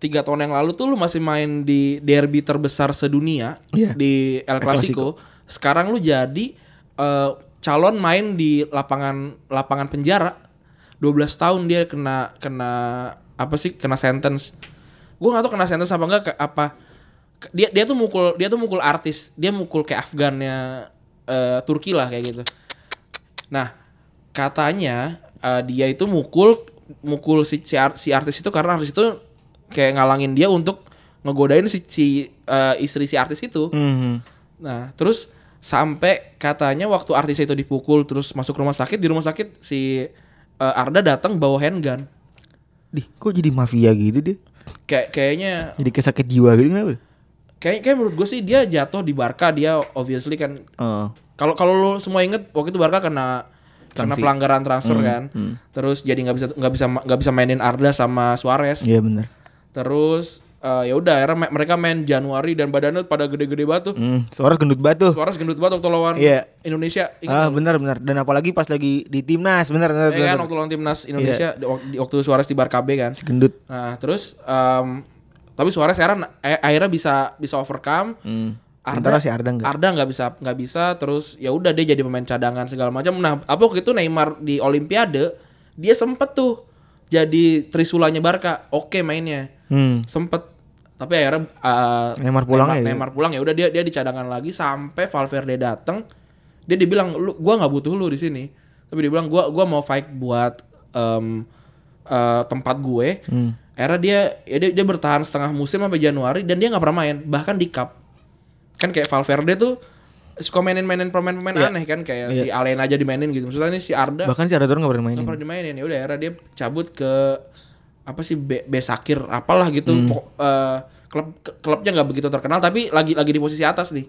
S2: tiga tahun yang lalu tuh lu masih main di derby terbesar sedunia
S3: Iya.
S2: di El Clasico. Sekarang lu jadi eh, calon main di lapangan lapangan penjara. 12 tahun dia kena kena apa sih kena sentence. Gua nggak tahu kena sentence apa enggak ke- apa ke- dia dia tuh mukul dia tuh mukul artis, dia mukul kayak Afgannya eh, Turki lah kayak gitu. Nah, katanya eh, dia itu mukul mukul si si, ar- si artis itu karena artis itu kayak ngalangin dia untuk ngegodain si, si, eh, istri si artis itu.
S3: Hmm. Mhm.
S2: Nah, terus sampai katanya waktu artis itu dipukul terus masuk rumah sakit, di rumah sakit si eh, Arda datang bawa handgun.
S3: Dih, kok jadi mafia gitu dia?
S2: Kayak kayaknya
S3: Jadi kayak sakit jiwa gitu kenapa?
S2: kayak kayak menurut gue sih dia jatuh di Barca dia obviously kan
S3: Oh.
S2: Kalau kalau lu semua inget waktu itu Barca kena kena
S3: Sanksi.
S2: pelanggaran transfer
S3: Hmm,
S2: kan. Terus jadi nggak bisa nggak bisa nggak bisa mainin Arda sama Suarez.
S3: Iya benar.
S2: Terus eh, ya udah akhirnya me- mereka main Januari dan badannya pada gede-gede banget tuh.
S3: Hmm, suara gendut batu.
S2: Suarez gendut banget waktu lawan
S3: Iya.
S2: Indonesia. Ingat
S3: Ah, benar benar. Dan apalagi pas lagi di timnas, benar benar.
S2: ya kan
S3: benar.
S2: waktu lawan timnas
S3: Iya.
S2: Indonesia di wak- di- waktu Suarez di Barca B kan.
S3: Si gendut.
S2: Nah, terus em, tapi Suarez sekarang eh, akhirnya bisa bisa overcome.
S3: Mhm. Sementara si Arda enggak.
S2: Arda nggak bisa nggak bisa terus ya udah dia jadi pemain cadangan segala macam. Nah, apa waktu itu Neymar di Olimpiade dia sempet tuh jadi trisulanya Barca. Oke mainnya.
S3: Hmm.
S2: Sempet tapi akhirnya uh,
S3: Neymar pulang
S2: Neymar,
S3: ya, dia?
S2: Neymar pulang ya udah dia dia dicadangkan lagi sampai Valverde datang. Dia dibilang lu gua nggak butuh lu di sini. Tapi dia bilang gua gua mau fight buat em, eh, tempat gue.
S3: Hmm.
S2: Akhirnya dia, ya dia dia bertahan setengah musim sampai Januari dan dia nggak pernah main bahkan di cup kan kayak Valverde tuh suka mainin-mainin pemain-pemain aneh kan kayak si Alena aja dimainin gitu maksudnya ini si Arda
S3: Iya. Bahkan si Arda Turan enggak pernah mainin.
S2: nggak pernah dimainin ya udah akhirnya dia cabut ke apa sih Be Besakir apalah gitu Pok- eh, klub ke- klubnya nggak begitu terkenal tapi lagi lagi di posisi atas nih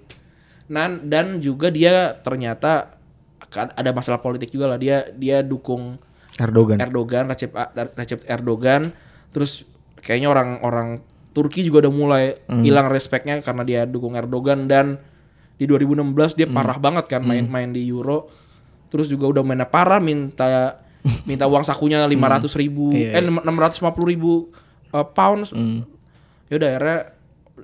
S2: Nan dan juga dia ternyata kan ada masalah politik juga lah dia dia dukung
S3: Erdogan.
S2: Erdogan Recep Recep Erdogan terus kayaknya orang-orang Turki juga udah mulai hilang respeknya karena dia dukung Erdogan dan di 2016 dia parah banget kan main-main di Euro terus juga udah mainnya parah minta minta uang sakunya 500 ribu eh 650 ribu uh, pounds ya udah akhirnya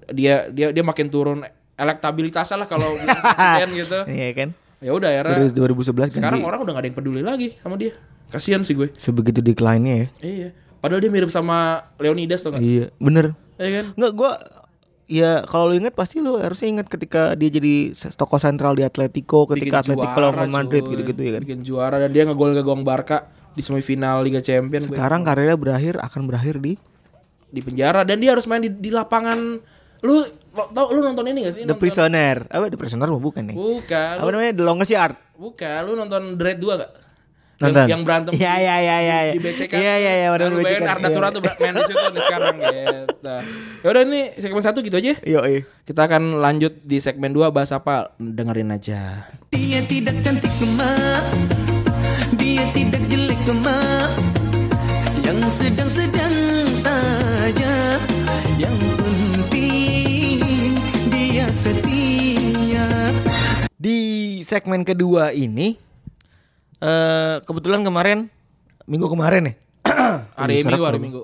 S2: dia dia dia makin turun elektabilitasnya lah kalau bilang presiden gitu
S3: Iya kan?
S2: ya udah akhirnya
S3: Dari 2011
S2: sekarang
S3: ganti.
S2: orang udah gak ada yang peduli lagi sama dia kasihan sih gue
S3: sebegitu decline-nya ya.
S2: Iya. Padahal dia mirip sama Leonidas tuh kan.
S3: Iya, bener.
S2: Iya kan?
S3: Enggak gua ya kalau lu ingat pasti lu harusnya ingat ketika dia jadi se- tokoh sentral di Atletico, ketika
S2: Bikin
S3: Atletico
S2: juara,
S3: lawan Real Madrid
S2: cuy.
S3: gitu-gitu ya kan.
S2: Bikin juara dan dia ngegol ke gawang Barca di semifinal Liga Champions gue.
S3: Sekarang karirnya berakhir akan berakhir di
S2: di penjara dan dia harus main di, di lapangan lu lo- tau lu nonton ini gak sih?
S3: The
S2: Nonton-
S3: Prisoner. Apa The Prisoner mah bukan nih?
S2: Bukan.
S3: Apa namanya? The Longest Yard.
S2: Bukan, lu nonton Dread 2 gak?
S3: Nonton.
S2: Yang, yang berantem
S3: Iya, iya, iya, iya, iya.
S2: di BCK.
S3: Iya, iya, iya,
S2: Nah,
S3: benar,
S2: lu
S3: BCK.
S2: bayangin Arda
S3: Iya.
S2: Turan tuh ber- main di situ nih sekarang gitu. Ya udah ini segmen satu gitu aja.
S3: Yo, iya.
S2: Kita akan lanjut di segmen 2 bahas apa? Dengerin aja.
S4: Dia tidak cantik emak Dia tidak jelek emak Yang sedang-sedang saja Yang penting dia setia
S3: Di segmen kedua ini eh kebetulan kemarin minggu kemarin ya. [clears throat]
S2: Hari
S3: Udah
S2: Minggu,
S3: serak
S2: hari
S3: sama-
S2: Minggu.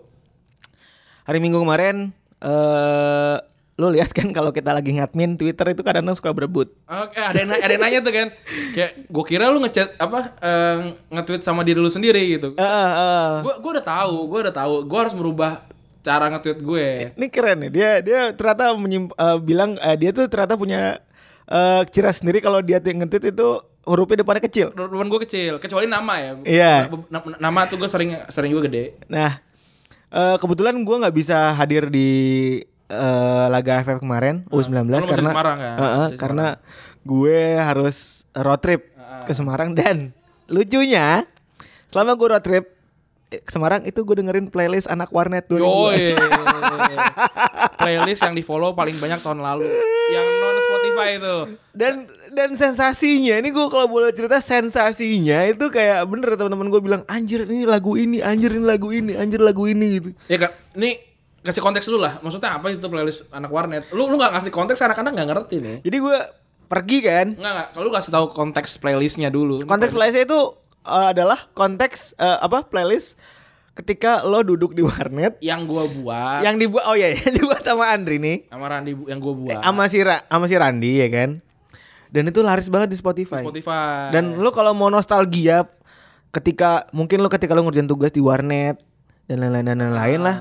S3: Hari Minggu kemarin eh lu lihat kan kalau kita lagi ngadmin Twitter itu kadang-kadang suka berebut.
S2: Oke, ada yang, ada yang nanya tuh kan. Kayak gue kira lu ngechat apa eh, nge-tweet sama diri lu sendiri gitu.
S3: Eh, eh, eh.
S2: Gue gua udah tahu, gue udah tahu. Gue harus merubah cara nge-tweet gue.
S3: Ini keren nih. Dia dia ternyata menyim- eh, bilang eh, dia tuh ternyata punya eh cira sendiri kalau dia tuh nge-tweet itu hurufnya depannya kecil.
S2: Ruangan gue kecil, kecuali nama ya.
S3: Iya.
S2: Na- na- Nama tuh gue sering sering gue gede.
S3: Nah, eh kebetulan gua nggak bisa hadir di eh, laga FF kemarin U19
S2: Lu masih di
S3: karena
S2: Semarang kan?
S3: Eh, eh,
S2: Masih di
S3: karena gue harus road trip ke Semarang dan lucunya selama gue road trip eh, ke Semarang itu gue dengerin playlist anak warnet dulu.
S2: Yoi. [laughs] Playlist yang di-follow paling banyak tahun lalu. Yang non Spotify itu.
S3: Dan dan sensasinya ini gue kalau boleh cerita sensasinya itu kayak bener teman-teman gue bilang anjir ini lagu ini anjir ini lagu ini anjir lagu ini gitu.
S2: Ya kan, ini kasih konteks dulu lah. Maksudnya apa itu playlist anak warnet? Lu lu nggak ngasih konteks anak-anak nggak ngerti nih.
S3: Jadi gue pergi kan
S2: Enggak, enggak. Kalau lu kasih tahu konteks playlistnya dulu.
S3: Konteks playlist itu uh, adalah konteks uh, apa playlist ketika lo duduk di warnet
S2: yang gua buat
S3: yang dibuat oh ya [laughs] yang dibuat sama Andri nih
S2: sama Randi bu- yang gua buat
S3: Eh, sama si Ra- sama si Randi ya kan. Dan itu laris banget di Spotify.
S2: Spotify.
S3: Dan lo kalau mau nostalgia ketika mungkin lo ketika lo ngerjain tugas di warnet dan lain-lain dan lain-lain lah.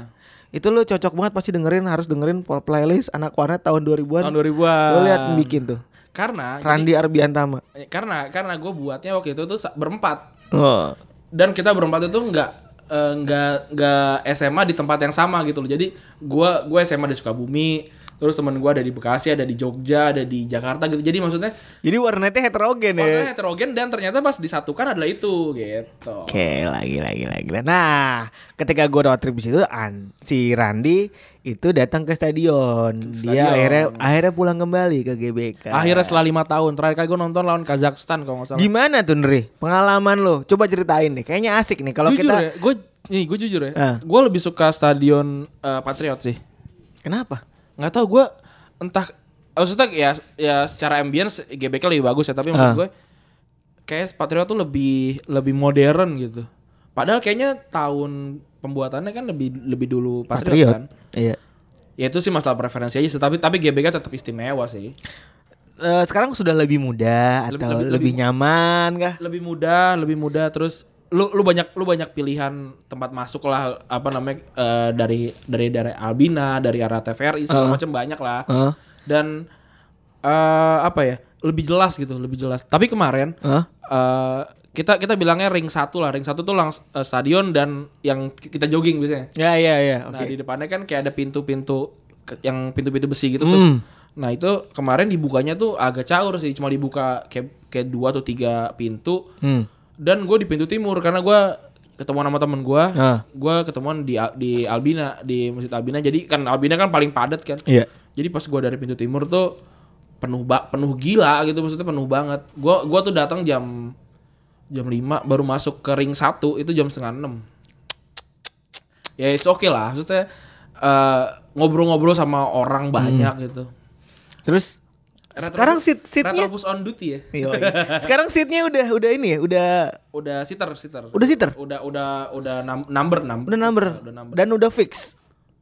S3: Itu lo cocok banget pasti dengerin harus dengerin playlist anak warnet tahun 2000-an.
S2: tahun 2000-an.
S3: Lo lihat bikin tuh.
S2: Karena
S3: Randi Arbiantama.
S2: jadi- karena karena gua buatnya waktu itu tuh sa- berempat.
S3: Oh.
S2: Dan kita berempat itu enggak eh, enggak enggak SMA di tempat yang sama gitu loh. Jadi gua gua SMA di Sukabumi, terus temen gua ada di Bekasi, ada di Jogja, ada di Jakarta gitu. Jadi maksudnya
S3: Jadi warnetnya heterogen ya.
S2: warnanya heterogen dan ternyata pas disatukan adalah itu gitu.
S3: Oke, lagi lagi lagi. Nah, ketika gue road trip di situ, an si Randi itu datang ke stadion. Dia akhirnya akhirnya pulang kembali ke GBK.
S2: Akhirnya setelah lima tahun, terakhir kali gua nonton lawan Kazakhstan kalau nggak salah.
S3: Ya. Gimana tuh Nri? Pengalaman lo? Coba ceritain deh. Kayaknya asik nih kalau
S2: jujur ya,
S3: kita.
S2: gue nih gue jujur ya,
S3: Ah.
S2: gue lebih suka stadion eh, Patriot sih.
S3: Kenapa?
S2: Nggak tahu gue entah maksudnya ya ya secara ambience GBK lebih bagus ya, tapi maksud
S3: Ah.
S2: gue kayak Patriot tuh lebih lebih modern gitu. Padahal kayaknya tahun pembuatannya kan lebih lebih dulu Patriot, kan.
S3: Iya.
S2: Ya itu sih masalah preferensi aja, sih, tapi tapi GBK tetap istimewa sih.
S3: Eh, sekarang sudah lebih muda
S2: Lebih-
S3: atau
S2: lebih-
S3: lebih,
S2: lebih-
S3: nyaman kah?
S2: lebih mudah lebih mudah terus lu lu banyak lu banyak pilihan tempat masuk lah apa namanya eh, dari dari dari Albina dari arah TVRI segala macam banyak lah
S3: Heeh.
S2: dan eh apa ya lebih jelas gitu lebih jelas tapi kemarin
S3: Hah?
S2: eh, kita kita bilangnya ring satu lah ring satu tuh langs eh, stadion dan yang ki- kita jogging biasanya
S3: Ya ya ya. Oke.
S2: nah di depannya kan kayak ada pintu-pintu ke- yang pintu-pintu besi gitu tuh
S3: Hmm.
S2: nah itu kemarin dibukanya tuh agak caur sih cuma dibuka kayak kayak dua atau tiga pintu
S3: Hmm.
S2: dan gue di pintu timur karena gue ketemuan sama temen gue
S3: Ah.
S2: gue ketemuan di Al- di Albina di masjid Albina jadi kan Albina kan paling padat kan
S3: Iya.
S2: jadi pas gue dari pintu timur tuh penuh ba penuh gila gitu maksudnya penuh banget gue gua tuh datang jam jam 5 baru masuk ke ring 1 itu jam setengah 6 ya it's okay lah maksudnya eh, ngobrol-ngobrol sama
S3: Hmm.
S2: orang banyak gitu
S3: Terus
S2: Retro-
S3: sekarang seat seatnya
S2: Retrobus on duty ya [laughs]
S3: Yoi. sekarang seatnya udah udah ini ya, udah
S2: udah sitter sitter
S3: udah sitter,
S2: udah udah udah num- number number
S3: udah number,
S2: udah number
S3: dan udah fix.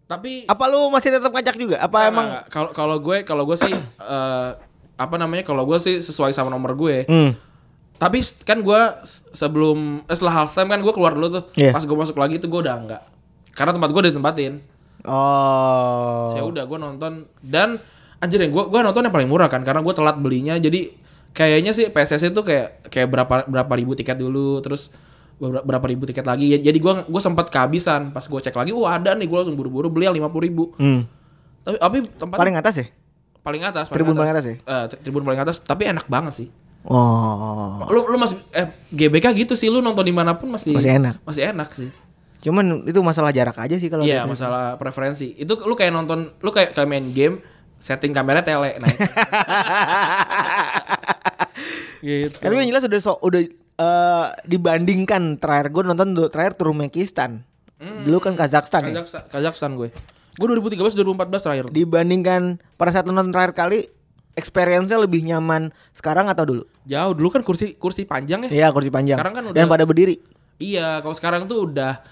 S2: tapi
S3: Apa lu masih tetap ngajak juga? Apa emang
S2: Nggak, nggak. kalau kalau gue kalau gue sih eh, apa namanya kalau gue sih sesuai sama nomor gue
S3: Hmm.
S2: tapi s- kan gue s- sebelum eh, setelah half time kan gue keluar dulu tuh
S3: Iya.
S2: pas gue masuk lagi tuh gue udah enggak karena tempat gue udah ditempatin
S3: Oh.
S2: saya udah gue nonton dan anjir ya gue gue nonton yang paling murah kan karena gue telat belinya jadi kayaknya sih PSS itu kayak kayak berapa berapa ribu tiket dulu terus beberapa berapa ribu tiket lagi Ya, jadi gue gue sempat kehabisan pas gue cek lagi wah ada nih gue langsung buru-buru beli yang lima puluh ribu
S3: Hmm.
S2: tapi tapi tempat
S3: Paling atas ya?
S2: paling atas
S3: Tribun paling atas ya?
S2: Eh, tri- tribun paling atas tapi enak banget sih
S3: Oh.
S2: lu lu masih eh GBK gitu sih lu nonton dimanapun masih
S3: Masih enak.
S2: masih enak sih
S3: Cuman itu masalah jarak aja sih kalau
S2: iya
S3: gitu.
S2: masalah preferensi itu lu kayak nonton lu kayak, kayak main game setting kamera tele
S3: [laughs]
S2: nah gitu
S3: Tapi yang jelas udah so, udah eh, dibandingkan terakhir gue nonton dulu- terakhir Turkmenistan. Dulu kan Kazakhstan, ya.
S2: Kazakhstan, Kazakhstan gue gue 2013 2014 terakhir
S3: Dibandingkan pada saat nonton terakhir kali experience-nya lebih nyaman sekarang atau dulu?
S2: jauh dulu kan kursi kursi panjang ya
S3: Iya, kursi panjang.
S2: Sekarang kan udah-
S3: Dan pada berdiri.
S2: iya kalau sekarang tuh udah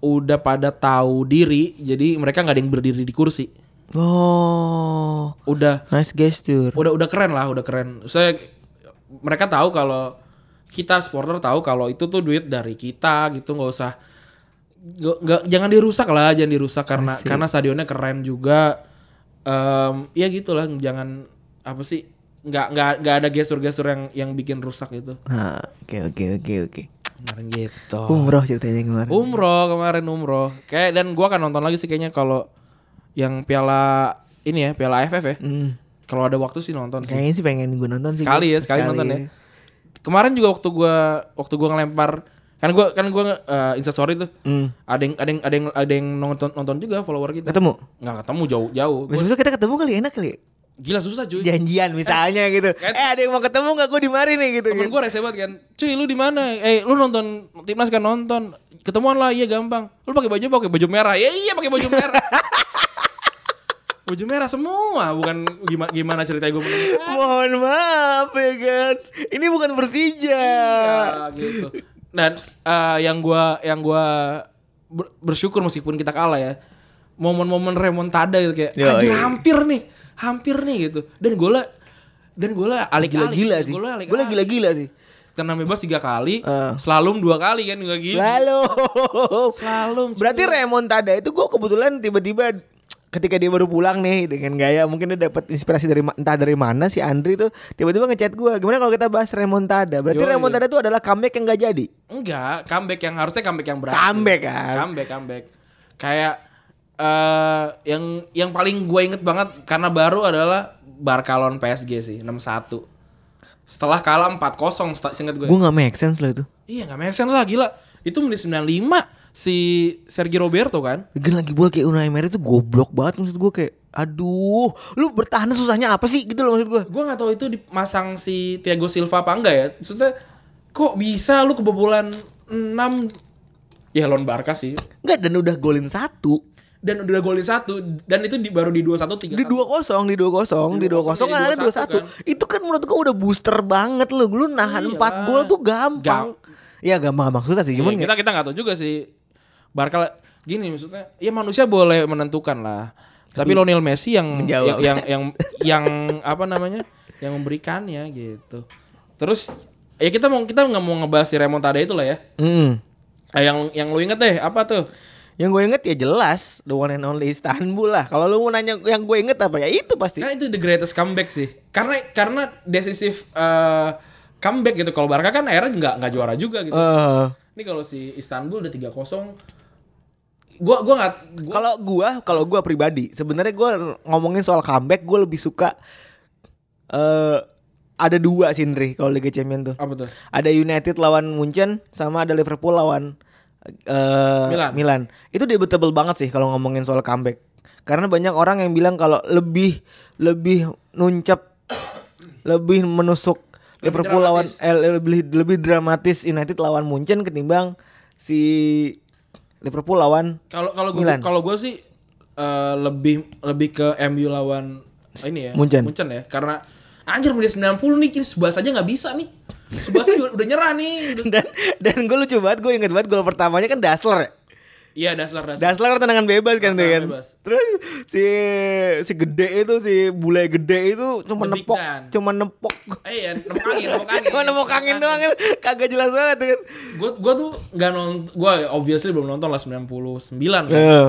S2: udah pada tahu diri jadi mereka nggak ada yang berdiri di kursi
S3: Oh,
S2: udah
S3: nice gesture.
S2: udah udah keren lah udah keren saya mereka tahu kalau kita supporter tahu kalau itu tuh duit dari kita gitu nggak usah nggak nggak- jangan dirusak lah jangan dirusak karena karena stadionnya keren juga Em, ya gitulah jangan apa sih nggak nggak nggak ada gestur-gestur yang yang bikin rusak gitu
S3: Nah, oke oke oke oke.
S2: kemarin gitu
S3: Umroh ceritanya kemarin.
S2: Oh. umroh kemarin umroh kayak dan gua akan nonton lagi sih kayaknya kalau yang piala ini ya piala AFF ya
S3: Hmm.
S2: kalau ada waktu sih nonton sih.
S3: Kayaknya sih pengen gue nonton sih.
S2: sekali ya sekali, nonton ya. kemarin juga waktu gua waktu gua ngelempar kan gua kan gua eh, instastory tuh
S3: Hmm.
S2: ada yang ada yang ada yang ada yang nonton nonton juga follower kita
S3: Ketemu.
S2: nggak ketemu jauh jauh Gua-
S3: Besok kita ketemu kali enak kali. ya?
S2: gila susah cuy
S3: Janjian misalnya gitu.
S2: kan-
S3: Eh ada yang mau ketemu nggak gue di mari nih gitu.
S2: temen
S3: gitu.
S2: gua rese banget kan cuy lu di mana eh lu nonton timnas kan nonton ketemuan lah iya gampang lu pakai baju apa? pakai baju merah ya iya pakai baju merah baju merah semua bukan gimana gimana ceritanya gue menang
S3: Mohon maaf ya kan. Ini bukan Persija.
S2: Ya, gitu. Dan eh, yang gua yang gua ber- bersyukur meskipun kita kalah ya. Momen-momen remontada gitu kayak
S3: Yo,
S2: anjir
S3: iya.
S2: hampir nih, hampir nih gitu. Dan gola dan gola alik-alik.
S3: Gila-gila sih.
S2: Gola alik-alik.
S3: Gue gila-gila sih.
S2: Tenang bebas tiga kali,
S3: Eh.
S2: slalom dua kali kan juga gila.
S3: Lalu.
S2: Slalom. cuy.
S3: Berarti remontada itu gue kebetulan tiba-tiba ketika dia baru pulang nih dengan gaya mungkin dia dapat inspirasi dari ma- entah dari mana si Andri tuh tiba-tiba ngechat gue gimana kalau kita bahas remontada berarti
S2: Yoi.
S3: remontada itu adalah comeback yang gak jadi
S2: Enggak, comeback yang harusnya comeback yang berhasil.
S3: Comeback kan?
S2: Comeback, comeback. Kayak eh yang yang paling gue inget banget karena baru adalah Barkalon PSG sih 6-1. Setelah kalah 4-0 seta- seinget gue.
S3: gue nggak make sense lah itu
S2: Iya nggak make sense lah gila. Itu menit 95 si Sergio Roberto kan.
S3: Lagian lagi bola kayak Unai Emery tuh goblok banget maksud gue kayak aduh lu bertahan susahnya apa sih gitu loh maksud gue
S2: Gue nggak tahu itu dimasang si Thiago Silva apa enggak ya. Maksudnya kok bisa lu kebobolan 6 ya lawan Barca sih.
S3: Enggak dan udah golin satu
S2: Dan udah golin satu dan itu di, baru di 2-1 tiga
S3: di
S2: kali.
S3: dua kosong di dua kosong Ya kan. di dua kosong kan ada dua satu itu kan Iya menurut gue udah booster banget lu lu nahan
S2: Iyalah.
S3: empat gol tuh gampang ya gampang gampang susah sih cuman
S2: Iya, kita kita nggak tahu juga sih Barca gini maksudnya ya manusia boleh menentukan lah tapi, Lionel Messi yang yang
S3: Menjawab.
S2: yang yang, yang apa namanya yang memberikannya gitu terus ya kita mau kita nggak mau ngebahas si remontada itu lah ya
S3: Mm.
S2: Eh, yang yang lu inget deh apa tuh
S3: yang gue inget ya jelas the one and only Istanbul lah kalau lu mau nanya yang gue inget apa ya itu pasti
S2: kan itu the greatest comeback sih karena karena decisive eh, comeback gitu kalau Barca kan akhirnya nggak nggak juara juga gitu
S3: Eh,
S2: ini kalau si Istanbul udah 3-0 gua gua nggak gua-
S3: kalau gue kalau gue pribadi sebenarnya gue ngomongin soal comeback gue lebih suka eh ada dua sih Ndri kalau Liga Champions tuh
S2: apa tuh
S3: ada United lawan Munchen sama ada Liverpool lawan eh,
S2: Milan.
S3: Itu debatable banget sih kalau ngomongin soal comeback. Karena banyak orang yang bilang kalau lebih lebih nuncap, lebih menusuk, Liverpool lawan
S2: dramatis.
S3: eh, lebih lebih dramatis United lawan Munchen ketimbang si Liverpool lawan
S2: Kalau kalau gue
S3: Milan.
S2: kalau gue sih eh, lebih lebih ke MU lawan ini ya
S3: Munchen.
S2: ya karena anjir menit 90 nih kiri Subasa aja nggak bisa nih. Subasa juga udah nyerah nih. Udah-
S3: [laughs] dan dan gue lucu banget gue inget banget gol pertamanya kan Dasler ya.
S2: Iya dasar dasar.
S3: Dasler tendangan bebas kan tuh kan.
S2: Tendangan bebas.
S3: Terus si si gede itu si bule gede itu cuma
S2: Dedik
S3: nepok,
S2: dan.
S3: cuma nepok.
S2: Eh ya nemu angin,
S3: [laughs]
S2: nemu angin.
S3: Cuma nepok angin doang kan. Kagak jelas banget tuh kan.
S2: Gue gue tuh nggak nonton, gue obviously belum nonton lah 99 kan.
S3: Heeh.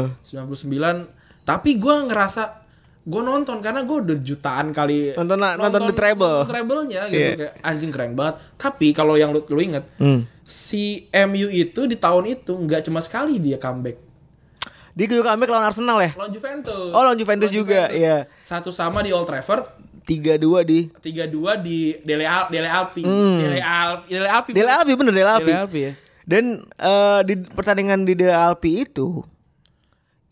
S2: 99 tapi gue ngerasa gue nonton karena gue udah jutaan kali
S3: Nonton lah- nonton The Treble.
S2: nonton Treble-nya gitu
S3: Iya.
S2: kayak anjing keren banget tapi kalau yang lu, lu inget
S3: Hmm.
S2: si MU itu di tahun itu nggak cuma sekali dia comeback
S3: Dia juga comeback lawan Arsenal ya.
S2: lawan Juventus
S3: Oh, lawan Juventus juga, iya.
S2: satu sama di Old Trafford
S3: 3-2 di
S2: 3-2 di Dele Al Dele Alpi Dele Al Dele Alpi
S3: Hmm. Dele Alpi bener Dele Alpi.
S2: Dele Alpi ya
S3: Dan eh, di pertandingan di Dele Alpi itu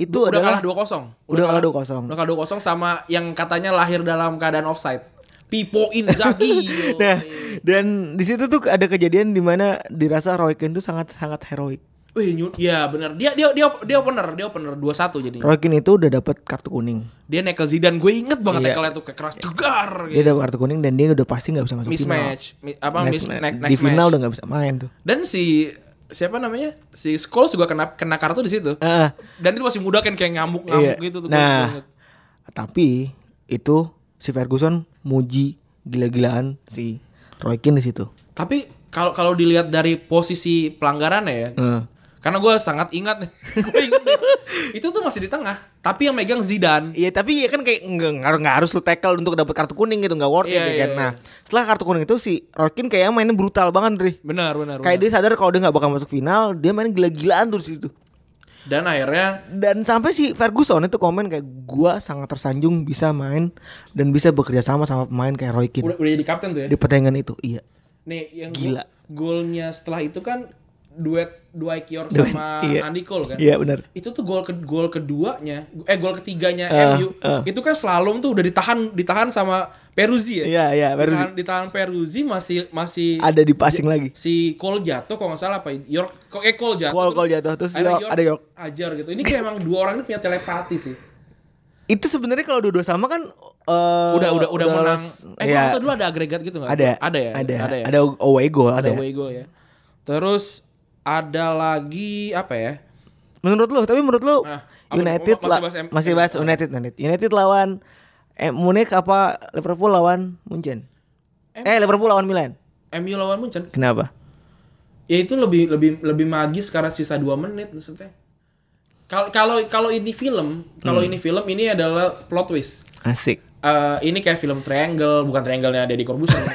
S3: itu
S2: udah
S3: adalah
S2: kalah 2-0
S3: Udah kalah 2-0.
S2: udah kalah 2-0 sama yang katanya lahir dalam keadaan offside Pipo
S3: [laughs]
S2: Inzaghi
S3: Nah, dan di situ tuh ada kejadian di mana dirasa Roy Keane tuh sangat sangat heroik.
S2: Wih, New- ya benar. Dia dia dia dia opener, dia opener 2-1 jadinya.
S3: Roy Keane itu udah dapat kartu kuning.
S2: Dia nekel Zidane, gue inget banget
S3: Iya.
S2: tackle-nya tuh kayak keras jegar
S3: Dia
S2: gitu.
S3: dapat kartu kuning dan dia udah pasti nggak bisa masuk
S2: Mismatch, Mi- apa
S3: final.
S2: miss,
S3: Mismatch.
S2: next,
S3: di
S2: next
S3: final
S2: match.
S3: udah nggak bisa main tuh.
S2: Dan si siapa namanya? Si Scholes juga kena kena kartu di situ.
S3: Heeh.
S2: Dan itu masih muda kan kayak ngamuk-ngamuk
S3: Iya.
S2: Ah, gitu tuh. gue inget
S3: Nah,
S2: banget.
S3: tapi itu si Ferguson muji gila-gilaan si Roy Keane di situ.
S2: tapi kalau kalau dilihat dari posisi pelanggarannya ya,
S3: Heeh.
S2: karena gue sangat [laughs] ingat, gue inget deh. itu tuh masih di tengah. Tapi yang megang Zidane.
S3: Iya tapi ya kan kayak nggak nggak harus nggak harus lu tackle untuk dapat kartu kuning gitu nggak worth
S2: Iya,
S3: it ya
S2: iya,
S3: kan.
S2: iya.
S3: Nah setelah kartu kuning itu si Rokin kayak mainnya brutal banget Dri.
S2: Benar, benar.
S3: Kayak
S2: benar.
S3: dia sadar kalau dia nggak bakal masuk final, dia main gila-gilaan terus itu.
S2: Dan akhirnya
S3: Dan sampai si Ferguson itu komen kayak gua sangat tersanjung bisa main dan bisa bekerja sama sama pemain kayak Roy Keane
S2: udah udah jadi kapten tuh ya.
S3: di pertandingan itu. Iya.
S2: Nih yang gila.
S3: Gila.
S2: golnya setelah itu kan duet Dwight York
S3: Duet,
S2: sama
S3: iya.
S2: Andy Cole kan.
S3: Iya benar.
S2: Itu tuh gol ke gol keduanya, eh gol ketiganya
S3: Eh,
S2: MU.
S3: eh.
S2: Itu kan slalom tuh udah ditahan ditahan sama Peruzzi ya.
S3: Iya iya baru
S2: Ditahan, ditahan Peruzzi masih masih
S3: ada di passing lagi.
S2: si Cole jatuh kalau nggak salah apa York kok eh Cole jatuh.
S3: Cole-
S2: terus
S3: Cole jatuh, terus
S2: akhirnya
S3: York- ada York.
S2: Ajar gitu. Ini kayak emang dua orang ini punya telepati sih.
S3: Itu sebenarnya kalau dua-dua sama kan eh,
S2: Udah udah udah menang.
S3: lolos.
S2: Eh
S3: Iya.
S2: kalau dulu ada agregat gitu nggak?
S3: ada
S2: Ada ya.
S3: ada
S2: ya?
S3: ada away goal
S2: ada
S3: ada,
S2: away goal ya. Terus ada lagi apa ya?
S3: menurut lu tapi menurut lu
S2: Ah, apa-
S3: United
S2: masih
S3: lah
S2: bahas M-
S3: masih bahas United United United lawan eh, Munich apa Liverpool lawan Munchen
S2: M-
S3: eh Liverpool lawan Milan
S2: MU lawan Munchen.
S3: kenapa
S2: Ya itu lebih lebih lebih magis karena sisa 2 menit maksudnya. Kalau kalau kalau ini film, kalau ini film ini adalah plot twist.
S3: asik
S2: Eh, ini kayak film Triangle, bukan Triangle-nya Deddy Corbuzier.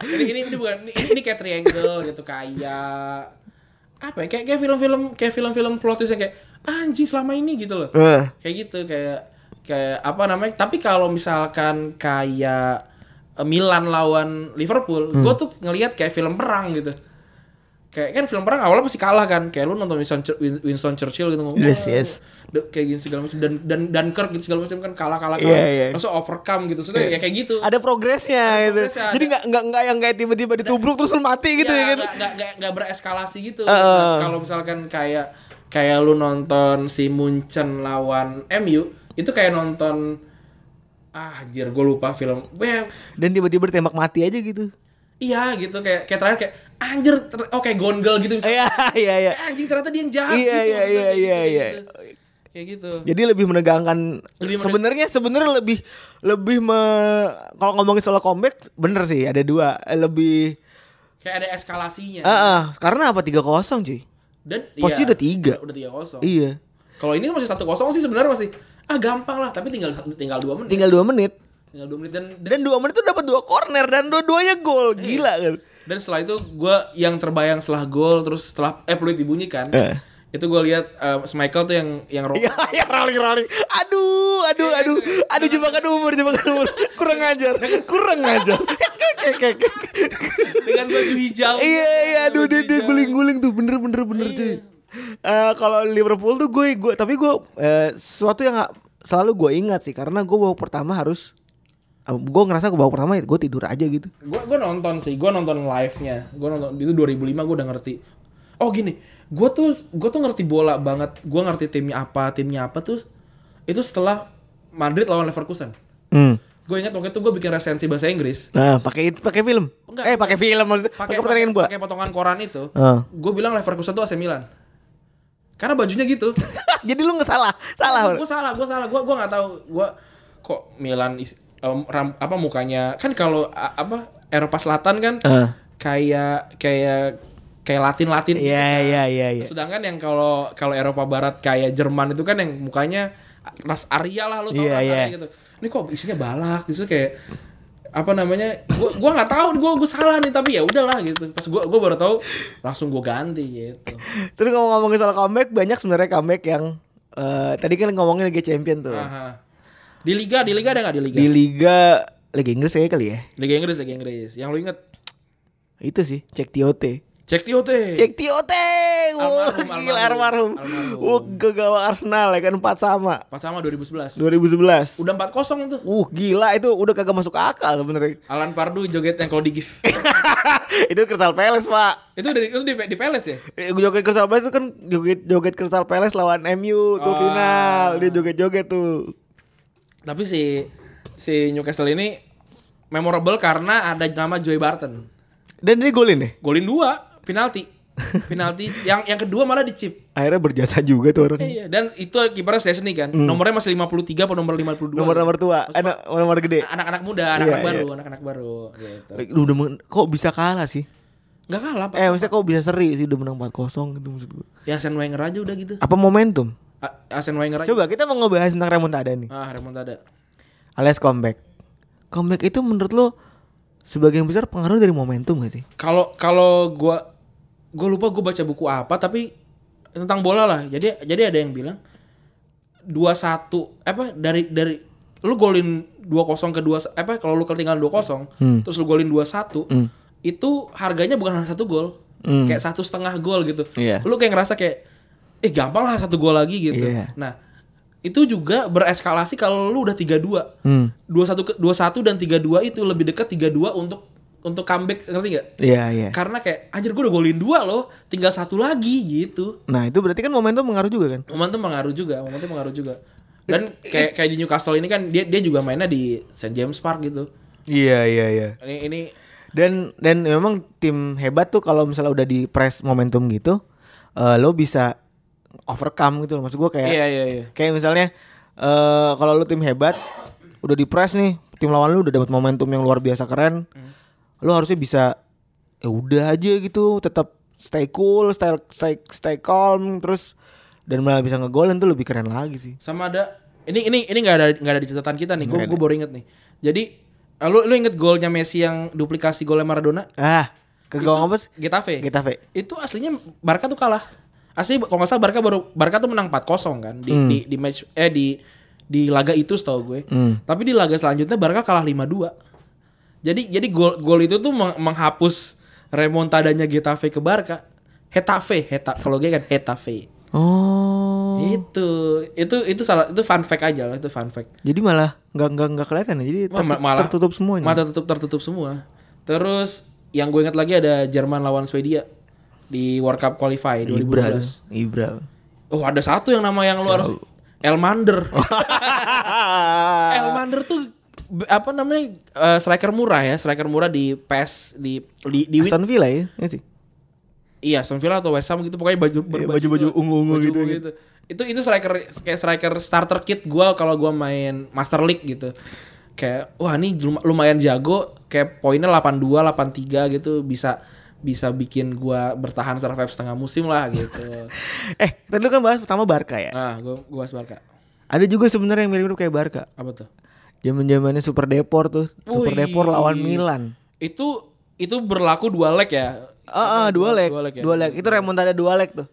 S2: ini, ini, ini bukan ini, ini kayak Triangle gitu kayak apa ya? Kayak kayak film-film kayak film-film plot twist yang kayak anjing selama ini gitu loh.
S3: Eh,
S2: kayak gitu kayak kayak apa namanya tapi kalau misalkan kayak eh, Milan lawan Liverpool
S3: Hmm.
S2: gue tuh ngelihat kayak film perang gitu kayak kan film perang awalnya masih kalah kan kayak lu nonton Winston, Chur- Win- Winston Churchill gitu ngomong
S3: Yes,
S2: "Wah,
S3: yes.
S2: the- kayak gini segala macam dan dan dan Kirk gitu segala macam kan kalah kalah kalah
S3: Iya, iya.
S2: langsung overcome gitu sudah ya kayak gitu
S3: ada progresnya gitu
S2: progresnya,
S3: jadi
S2: ada- Iya,
S3: nggak nggak nggak yang kayak tiba-tiba ditubruk terus lu mati gitu ya, kan
S2: nggak- nggak- nggak- nggak bereskalasi gitu.
S3: Eh, eh.
S2: Nah, Kalau misalkan kayak kayak lu nonton si Munchen lawan MU, itu kayak nonton ah anjir gue lupa film. Weh,
S3: dan tiba-tiba tembak mati aja gitu
S2: iya gitu kayak kayak terakhir kayak anjir ter- oh kayak gondel gitu misalnya.
S3: iya iya iya
S2: Eh, anjing ternyata dia yang jahat Gitu
S3: Iya, iya,
S2: maksudnya, kayak
S3: iya,
S2: gitu,
S3: iya,
S2: kayak gitu. Kayak gitu.
S3: Jadi lebih menegangkan.
S2: Lebih meneg-
S3: sebenarnya sebenarnya lebih lebih me kalau ngomongin soal comeback bener sih ada dua Eh, lebih
S2: Kayak ada eskalasinya.
S3: ah ah, karena apa 3-0 cuy.
S2: Dan iya,
S3: posisi udah tiga.
S2: Udah tiga kosong.
S3: Iya.
S2: Kalau ini kan masih satu kosong sih sebenarnya masih ah gampang lah, tapi tinggal tinggal dua menit.
S3: Tinggal 2 menit
S2: Tinggal dua menit dan, dan
S3: dan 2 menit tuh dapat dua corner dan dua-duanya gol.
S2: Iya.
S3: Gila kan.
S2: Dan setelah itu gue yang terbayang setelah gol terus setelah eh peluit dibunyikan
S3: Eh.
S2: itu gue lihat eh, Michael tuh yang yang roll.
S3: Iya, ya rolling rolling. Aduh, aduh,
S2: Iya,
S3: aduh. Aduh jebakan umur, jebakan umur. Kurang ajar. Kurang ajar.
S2: dengan baju hijau.
S3: [laughs] Iya iya aduh
S2: Baju
S3: dia, dia
S2: hijau.
S3: guling-guling tuh bener bener bener
S2: Iya.
S3: cuy. Eh, kalau Liverpool tuh gue gue tapi gue eh, sesuatu yang nggak- selalu gue ingat sih karena gue baru pertama harus gue ngerasa ke babak pertama gue tidur aja gitu
S2: Gue gue nonton sih, gue nonton live-nya. Gue nonton itu 2005 gue udah ngerti. Oh gini, gue tuh gue tuh ngerti bola banget. Gue ngerti timnya apa, timnya apa tuh. Itu setelah Madrid lawan Leverkusen. Gue ingat waktu itu gue bikin resensi bahasa Inggris.
S3: nah pakai itu- pakai film
S2: Enggak.
S3: eh pakai film maksudnya pakai
S2: Pakai
S3: pertandingan bola [laughs]
S2: pakai potongan koran itu.
S3: Ah.
S2: Gue bilang Leverkusen tuh AC Milan. Karena bajunya gitu.
S3: jadi lu nggak salah salah
S2: gue salah gue salah gue gue nggak tahu gue kok Milan is- em, ram- apa mukanya kan kalau a- apa Eropa Selatan kan
S3: Eh.
S2: kayak kayak kayak Latin Latin
S3: Iya iya iya iya.
S2: sedangkan yang kalau kalau Eropa Barat kayak Jerman itu kan yang mukanya ras Arya lah lo tau
S3: Iya,
S2: ras Arya
S3: iya.
S2: gitu ini kok isinya balak gitu kayak apa namanya gue gua nggak tahu gue gue salah nih tapi ya udahlah gitu pas gue gue baru tahu langsung gue ganti gitu
S3: Terus ngomong-ngomongin soal comeback banyak sebenarnya comeback yang eh, tadi kan ngomongin Liga Champion tuh.
S2: Aha. di liga di liga ada nggak di liga
S3: Di Liga Liga Inggris kayaknya kali ya.
S2: liga Inggris liga Inggris yang lo inget
S3: Itu sih cek TOT.
S2: Cek TOT.
S3: Cek TOT. Wah,
S2: Iya. Almarhum,
S3: gila
S2: almarhum.
S3: almarhum.
S2: Almarhum.
S3: Wah, ke gawang Arsenal ya kan 4 sama.
S2: Pas sama 2011.
S3: 2011.
S2: Udah 4-0 tuh.
S3: Uh, gila itu udah kagak masuk akal bener.
S2: Alan Pardu joget yang kalau di GIF.
S3: [laughs] itu Crystal Palace, Pak.
S2: itu dari itu di, di Palace ya?
S3: Eh, Joget Crystal Palace itu kan joget joget Crystal Palace lawan MU tuh
S2: Ah.
S3: final. Dia joget-joget tuh.
S2: Tapi si si Newcastle ini memorable karena ada nama Joy Barton.
S3: Dan dia golin ya? deh.
S2: Golin 2,
S3: [laughs]
S2: penalti. penalti yang yang kedua malah dicip.
S3: Akhirnya berjasa juga tuh orang.
S2: Iya, dan itu kipernya Szczesny kan. Nomornya masih 53 atau nomor 52.
S3: Hmm. nomor nomor tua anak nomor gede
S2: anak-anak muda, anak-anak
S3: Iya,
S2: baru, anak-anak baru gitu.
S3: lu udah men- kok bisa kalah sih
S2: Enggak kalah, Pak.
S3: eh maksudnya kok bisa seri sih udah menang 4-0 gitu maksud gue
S2: Ya Arsene Wenger aja udah gitu.
S3: apa momentum
S2: A- Arsene Wenger aja.
S3: coba kita mau ngebahas tentang remontada nih
S2: Ah, remontada.
S3: alias comeback comeback itu menurut lo sebagian besar pengaruh dari momentum gak sih
S2: kalau kalau gua gua lupa gua baca buku apa tapi tentang bola lah. Jadi jadi ada yang bilang 2-1 apa dari dari lu golin 2-0 ke 2 apa kalau lu ketinggalan 2-0
S3: Hmm.
S2: terus lu golin 2-1 itu harganya bukan satu gol. Kayak satu setengah gol gitu.
S3: Hmm. Iya.
S2: Lu kayak ngerasa kayak eh gampang lah satu gol lagi gitu.
S3: Iya.
S2: Nah, itu juga bereskalasi kalau lu udah 3-2
S3: hmm
S2: dua satu dua satu dan tiga dua itu lebih dekat tiga dua untuk untuk comeback ngerti nggak?
S3: iya iya
S2: Karena kayak anjir gue udah golin dua loh, tinggal satu lagi gitu.
S3: nah itu berarti kan momentum mengaruh juga kan
S2: Momentum mengaruh juga, momentum mengaruh juga. Dan kayak kayak di Newcastle ini kan dia dia juga mainnya di St James Park gitu.
S3: iya iya iya
S2: Ini ini
S3: dan dan memang tim hebat tuh kalau misalnya udah di press momentum gitu eh, lo bisa overcome gitu loh. maksud gue kayak
S2: iya iya iya.
S3: Kayak misalnya eh kalau lu tim hebat, udah di press nih, tim lawan lu udah dapat momentum yang luar biasa keren. Lu harusnya bisa ya udah aja gitu, tetap stay cool, stay stay, stay calm terus dan malah bisa ngegolin tuh lebih keren lagi sih.
S2: Sama ada ini ini ini nggak ada nggak ada di catatan kita nih. Gue gue baru inget nih. Jadi eh, lu lu inget golnya Messi yang duplikasi golnya Maradona?
S3: Ah, ke gawang apa sih?
S2: Getafe.
S3: Getafe.
S2: itu aslinya Barca tuh kalah. Asli kalau nggak salah Barca baru Barca tuh menang 4-0 kan di,
S3: Hmm.
S2: di di match eh di di laga itu setahu gue.
S3: Hmm.
S2: Tapi di laga selanjutnya Barca kalah 5-2. Jadi jadi gol gol itu tuh meng- menghapus remontadanya Getafe ke Barca. Hetafe, Heta kalau gue kan Hetafe.
S3: Oh.
S2: Itu itu itu salah itu fun fact aja lah itu fun fact.
S3: Jadi malah nggak nggak nggak kelihatan ya. Jadi
S2: Wah,
S3: tertu-
S2: ma- malah-
S3: tertutup semuanya.
S2: Mata tutup tertutup semua. Terus yang gue ingat lagi ada Jerman lawan Swedia di World Cup qualify 2012.
S3: Ibra, tuh, Ibra.
S2: Oh ada satu yang nama yang lu harus
S3: [laughs]
S2: Elmander. Elmander tuh b- apa namanya eh, striker murah ya, striker murah di PES di di, di Win-
S3: Aston Villa ya, nggak sih?
S2: iya Aston Villa atau West Ham gitu pokoknya baju
S3: Iya, baju-baju ungu-ungu
S2: baju
S3: gitu,
S2: ungu gitu. Itu itu striker kayak striker starter kit gua kalau gua main Master League gitu. Kayak wah ini lum- lumayan jago kayak poinnya 82, 83 gitu bisa bisa bikin gua bertahan secara five setengah musim lah
S3: [laughs]
S2: gitu.
S3: Eh, tadi lu kan bahas pertama Barca ya.
S2: nah, gua gua bahas Barca.
S3: Ada juga sebenarnya yang mirip-mirip kayak Barca.
S2: Apa tuh?
S3: Zaman-zamannya Super Depor tuh,
S2: Wih.
S3: Super Depor lawan Milan.
S2: itu itu berlaku dua leg ya.
S3: Ah, ah, dua leg,
S2: Dua leg ya.
S3: dua leg. Itu remontada dua leg tuh.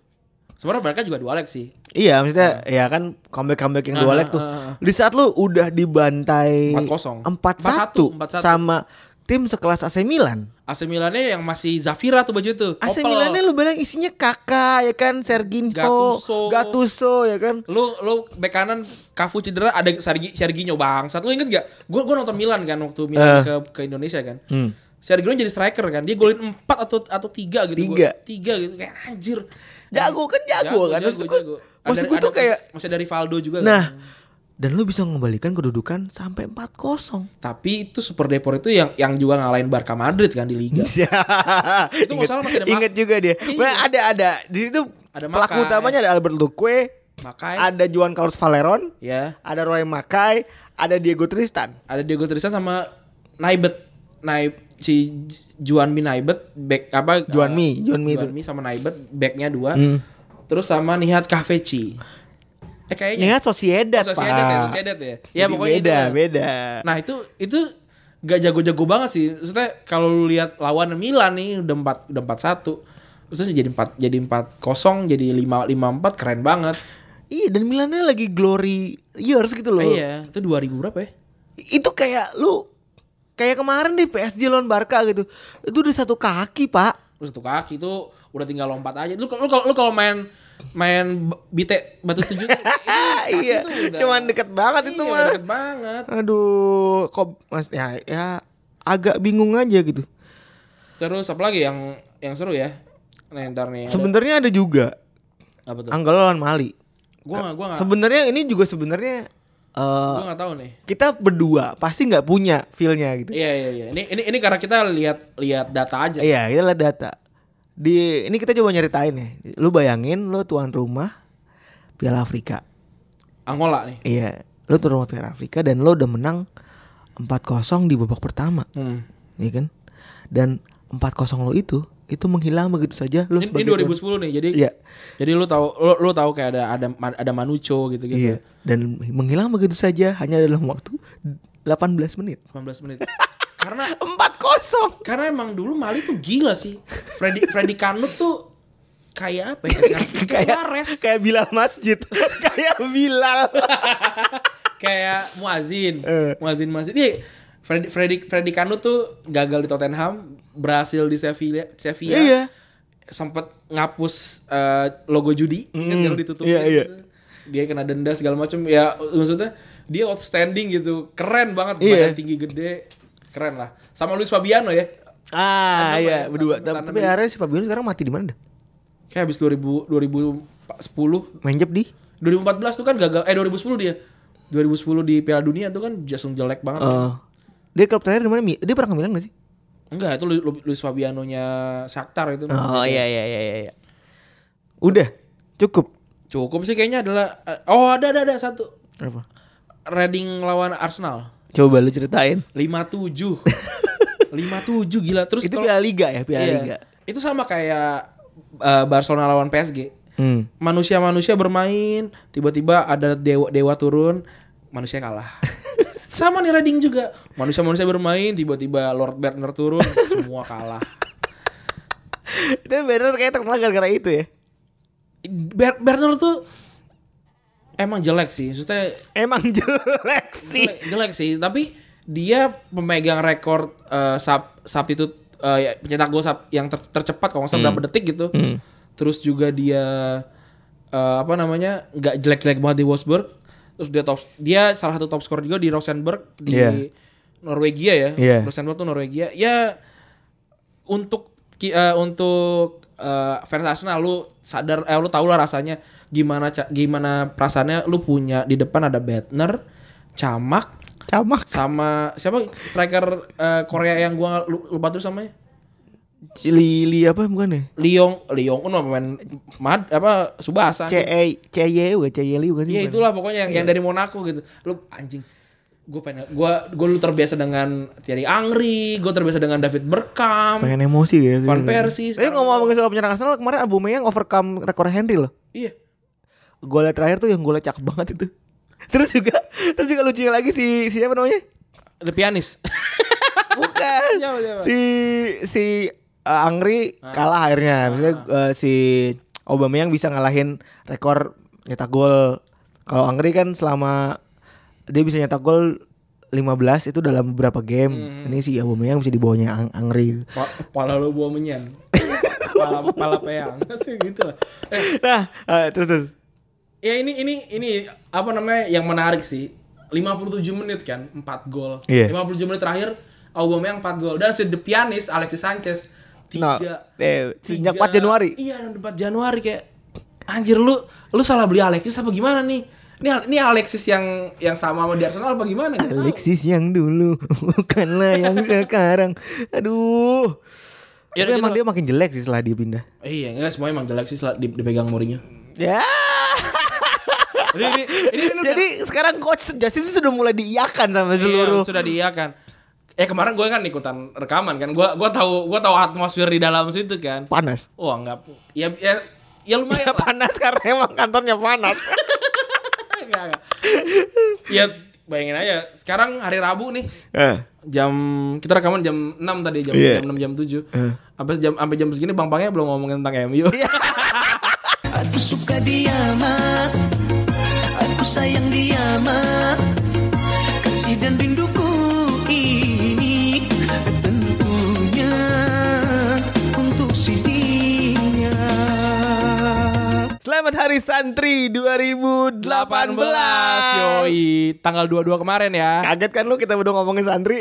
S2: Sebenarnya mereka juga dua leg sih.
S3: Iya, maksudnya ya kan comeback comeback yang dua
S2: Ah,
S3: leg tuh.
S2: ah, ah.
S3: Di saat lu udah dibantai
S2: 4-0.
S3: 4-1
S2: 4-1.
S3: sama tim sekelas AC Milan.
S2: AC Milannya yang masih Zafira tuh baju tuh. Opel.
S3: AC Milannya lu bilang isinya kakak ya kan Serginho,
S2: Gattuso.
S3: Gattuso ya kan.
S2: lu lu bek kanan Kafu cedera ada Sergi Serginho bangsat. Lu inget gak? Gue gua nonton Milan kan waktu Milan
S3: Eh.
S2: ke ke Indonesia kan.
S3: Hmm.
S2: Serginho jadi striker kan. Dia golin 4 atau atau 3 gitu.
S3: Tiga.
S2: 3 gitu kayak anjir.
S3: Jago kan jago, kan. Maksud gua- maksud
S2: Ada-
S3: gua tuh
S2: ada-
S3: kayak
S2: masih dari Valdo juga kan?
S3: nah dan lu bisa mengembalikan kedudukan sampai 4-0.
S2: Tapi itu Super Depor itu yang yang juga ngalahin Barca Madrid kan di liga. [laughs]
S3: itu
S2: nggak salah masih ada
S3: Iya. Ingat
S2: Mak-
S3: juga dia.
S2: Iya.
S3: Wah, ada ada di situ
S2: Ada
S3: pelaku
S2: Makai.
S3: utamanya ada Albert Luque,
S2: Makanya
S3: ada Juan Carlos Valeron,
S2: ya
S3: ada Roy Makai, ada Diego Tristan.
S2: ada Diego Tristan sama Naibet. Naib si Juanmi Naibet back apa eh,
S3: Juanmi, Juanmi itu.
S2: Juanmi sama Naibet backnya dua.
S3: Hmm.
S2: Terus sama Nihat Kafeci. Eh kayaknya
S3: Ingat Sociedad,
S2: Oh,
S3: Pak.
S2: Sociedad ya, Sociedad ya. Ya,
S3: Jadi
S2: pokoknya
S3: beda,
S2: itu lah.
S3: beda.
S2: Nah itu itu gak jago-jago banget sih. Maksudnya kalau lu lihat lawan Milan nih udah empat udah empat satu. Terus jadi empat jadi empat kosong jadi lima lima empat keren banget.
S3: Iya, dan Milannya lagi glory years gitu loh.
S2: Eh, iya itu 2000 berapa ya?
S3: Itu kayak lu kayak kemarin di PSG lawan Barca gitu. Itu udah satu kaki, Pak.
S2: Terus satu kaki itu udah tinggal lompat aja. Lu lu kalau lu kalau main main b- bite batu tujuh itu kaki
S3: [laughs] iya,
S2: tuh udah-
S3: cuman deket banget itu
S2: Iya,
S3: mah.
S2: deket banget.
S3: Aduh, kok mas ya, ya agak bingung aja gitu.
S2: Terus apa lagi yang yang seru ya? Nah, ntar nih. ada-
S3: Sebenarnya ada juga
S2: apa tuh?
S3: Angola lawan Mali.
S2: Gua gak, gua gak,
S3: Sebenarnya ini juga sebenarnya eh,
S2: gua gak tahu nih.
S3: kita berdua pasti nggak punya feelnya gitu.
S2: Iya iya iya. Ini ini ini karena kita lihat lihat data aja.
S3: Iya, kita lihat data. Di ini kita coba nyeritain ya. Lu bayangin lu tuan rumah Piala Afrika.
S2: Angola nih.
S3: Iya, lu tuan rumah Piala Afrika dan lu udah menang 4-0 di babak pertama,
S2: Hmm.
S3: ya kan? Dan 4-0 lu itu itu menghilang begitu saja lu
S2: Ini, ini
S3: sebagai tuan-
S2: 2010 nih. Jadi
S3: Iya.
S2: Jadi lu tahu lu, lu tahu kayak ada ada ada Manucho gitu
S3: Iya,
S2: gitu.
S3: dan menghilang begitu saja hanya dalam waktu 18 menit.
S2: 19 menit.
S3: [laughs] Oh,
S2: karena
S3: 4-0.
S2: karena emang dulu Mali tuh gila sih. Freddy Freddy Kanut tuh kayak apa ya?
S3: [laughs]
S2: Kayak
S3: [laughs] kayak
S2: Suarez,
S3: kayak Bilal [laughs] Masjid. kayak Bilal.
S2: kayak Muazin.
S3: Eh.
S2: Muazin Muazin. Iya. Freddy Freddy Freddy Kanut tuh gagal di Tottenham, berhasil di Sevilla, Sevilla.
S3: Iya.
S2: sempet ngapus eh, logo judi kan
S3: Hmm,
S2: kalau ditutupin
S3: iya, iya.
S2: gitu. dia kena denda segala macam ya maksudnya dia outstanding gitu keren banget
S3: Iya.
S2: badan tinggi gede keren lah sama Luis Fabiano ya
S3: Ah
S2: Tanam
S3: iya
S2: ya,
S3: berdua.
S2: tanam-
S3: Tapi
S2: tanam.
S3: akhirnya si Fabiano sekarang mati di mana dah?
S2: kayak habis 2000 2010
S3: Menjep di?
S2: 2014 tuh kan gagal eh 2010 dia 2010 di Piala Dunia tuh kan langsung jelek banget
S3: Eh, dia klub terakhir di mana? Mi- Dia pernah ke Milan gak sih?
S2: enggak itu Lu- Lu- Luis Fabianonya Shakhtar itu
S3: iya iya iya. Udah cukup.
S2: cukup sih kayaknya adalah oh ada ada ada satu
S3: Apa?
S2: Reading lawan Arsenal
S3: Coba lu ceritain.
S2: lima
S3: [laughs]
S2: tujuh lima tujuh gila terus
S3: itu
S2: kalau-
S3: Piala Liga ya Piala
S2: Iya.
S3: Liga.
S2: itu sama kayak eh, Barcelona lawan PSG
S3: Hmm.
S2: manusia-manusia bermain tiba-tiba ada dewa dewa turun manusia [laughs] kalah sama nih Reading juga manusia-manusia bermain tiba-tiba Lord Bernard turun semua kalah
S3: Itu benar kayak terkenal gara-gara itu ya.
S2: Ber- Bernard tuh emang jelek sih maksudnya
S3: Emang [laughs] jelek sih.
S2: jelek, jelek sih tapi dia pemegang rekor eh, sub substitute eh, ya, pencetak gol sub- yang ter- tercepat kalau nggak
S3: Hmm.
S2: salah berapa detik gitu terus juga dia eh, apa namanya nggak jelek-jelek banget di Wolfsburg terus dia top dia salah satu top skor juga di Rosenborg di
S3: Iya.
S2: Norwegia ya
S3: Iya.
S2: Rosenborg tuh Norwegia ya untuk ki- eh, untuk eh, fans Arsenal lu sadar eh, lu tahu lah rasanya gimana ca- gimana perasaannya lu punya di depan ada Bettner, Camak
S3: Camak.
S2: sama siapa striker eh, Korea yang gua lu- lupa terus namanya
S3: Lili apa bukan ya?
S2: Liong Liong kan pemain Mad apa Subasa
S3: C E C Y U C Y L bukan sih?
S2: ya
S3: bukan?
S2: itulah pokoknya yang, yang dari Monaco gitu lu anjing gue pengen gue gue lu terbiasa dengan Thierry Angri gue terbiasa dengan David Bergkamp
S3: Pengen emosi gitu.
S2: Van Persie
S3: Tapi
S2: sekarang.
S3: ngomong-ngomong soal penyerang Arsenal kemarin Aubameyang overcome rekor Henry loh.
S2: iya
S3: golnya terakhir tuh yang golnya cakep banget itu. [laughs] Terus juga terus juga lucunya lagi si siapa namanya?
S2: The Pianist
S3: Bukan.
S2: [laughs] Siapa, siapa?
S3: si si uh, Angri kalah akhirnya. Maksudnya uh, si Aubameyang bisa ngalahin rekor nyetak gol. Kalau Angri kan selama dia bisa nyetak gol 15 itu dalam beberapa game. Ini si Aubameyang bisa dibawanya Ang Angri.
S2: Pa- Pala lo buah menyan. Pala, pala peyang. [laughs] Sih gitu lah. Eh,
S3: Nah, eh, terus terus.
S2: Ya ini ini ini apa namanya yang menarik sih. 57 menit kan, 4 gol.
S3: Iya.
S2: 57 menit terakhir Aubameyang 4 gol dan si The Pianist Alexis Sanchez 3
S3: Nah, eh, sejak 4 Januari.
S2: Iya, 4 Januari kayak anjir lu lu salah beli Alexis apa gimana nih? Ini ini Alexis yang yang sama sama di Arsenal apa gimana? Nggak tahu.
S3: Alexis yang dulu [laughs] bukanlah yang sekarang. Aduh.
S2: Ya,
S3: Tapi
S2: gitu
S3: emang
S2: loh.
S3: dia makin jelek sih setelah dia pindah.
S2: Iya, enggak semua emang jelek sih setelah di- dipegang Mourinho.
S3: Ya.
S2: Jadi ini ini, kan ini udah-
S3: Jadi sekarang coach Justin sudah mulai diiakan sama seluruh.
S2: Iya, sudah diiakan. Eh kemarin gue kan ikutan rekaman kan. Gue gua tahu gua tahu atmosfer di dalam situ kan.
S3: Panas.
S2: Wah, enggak ya ya ya lumayan
S3: Ya
S2: lah.
S3: [laughs] panas karena emang kantornya panas. Iya.
S2: Enggak, enggak. Ya bayangin aja sekarang hari Rabu nih
S3: Eh.
S2: jam kita rekaman jam 6 tadi jam
S3: Iya.
S2: jam 6 jam 7. Sampai jam sampai jam segini Bang Pangnya belum ngomongin tentang MU.
S3: Iya,
S2: [laughs]
S4: Aku suka dia ma Aku sayang dia ma Kasih dan rinduku ini Tentunya Untuk si dia
S3: Selamat Hari Santri 2018.
S2: 18 yoi tanggal 22 kemarin ya.
S3: Kaget kan lu kita udah ngomongin
S2: [laughs]
S3: santri.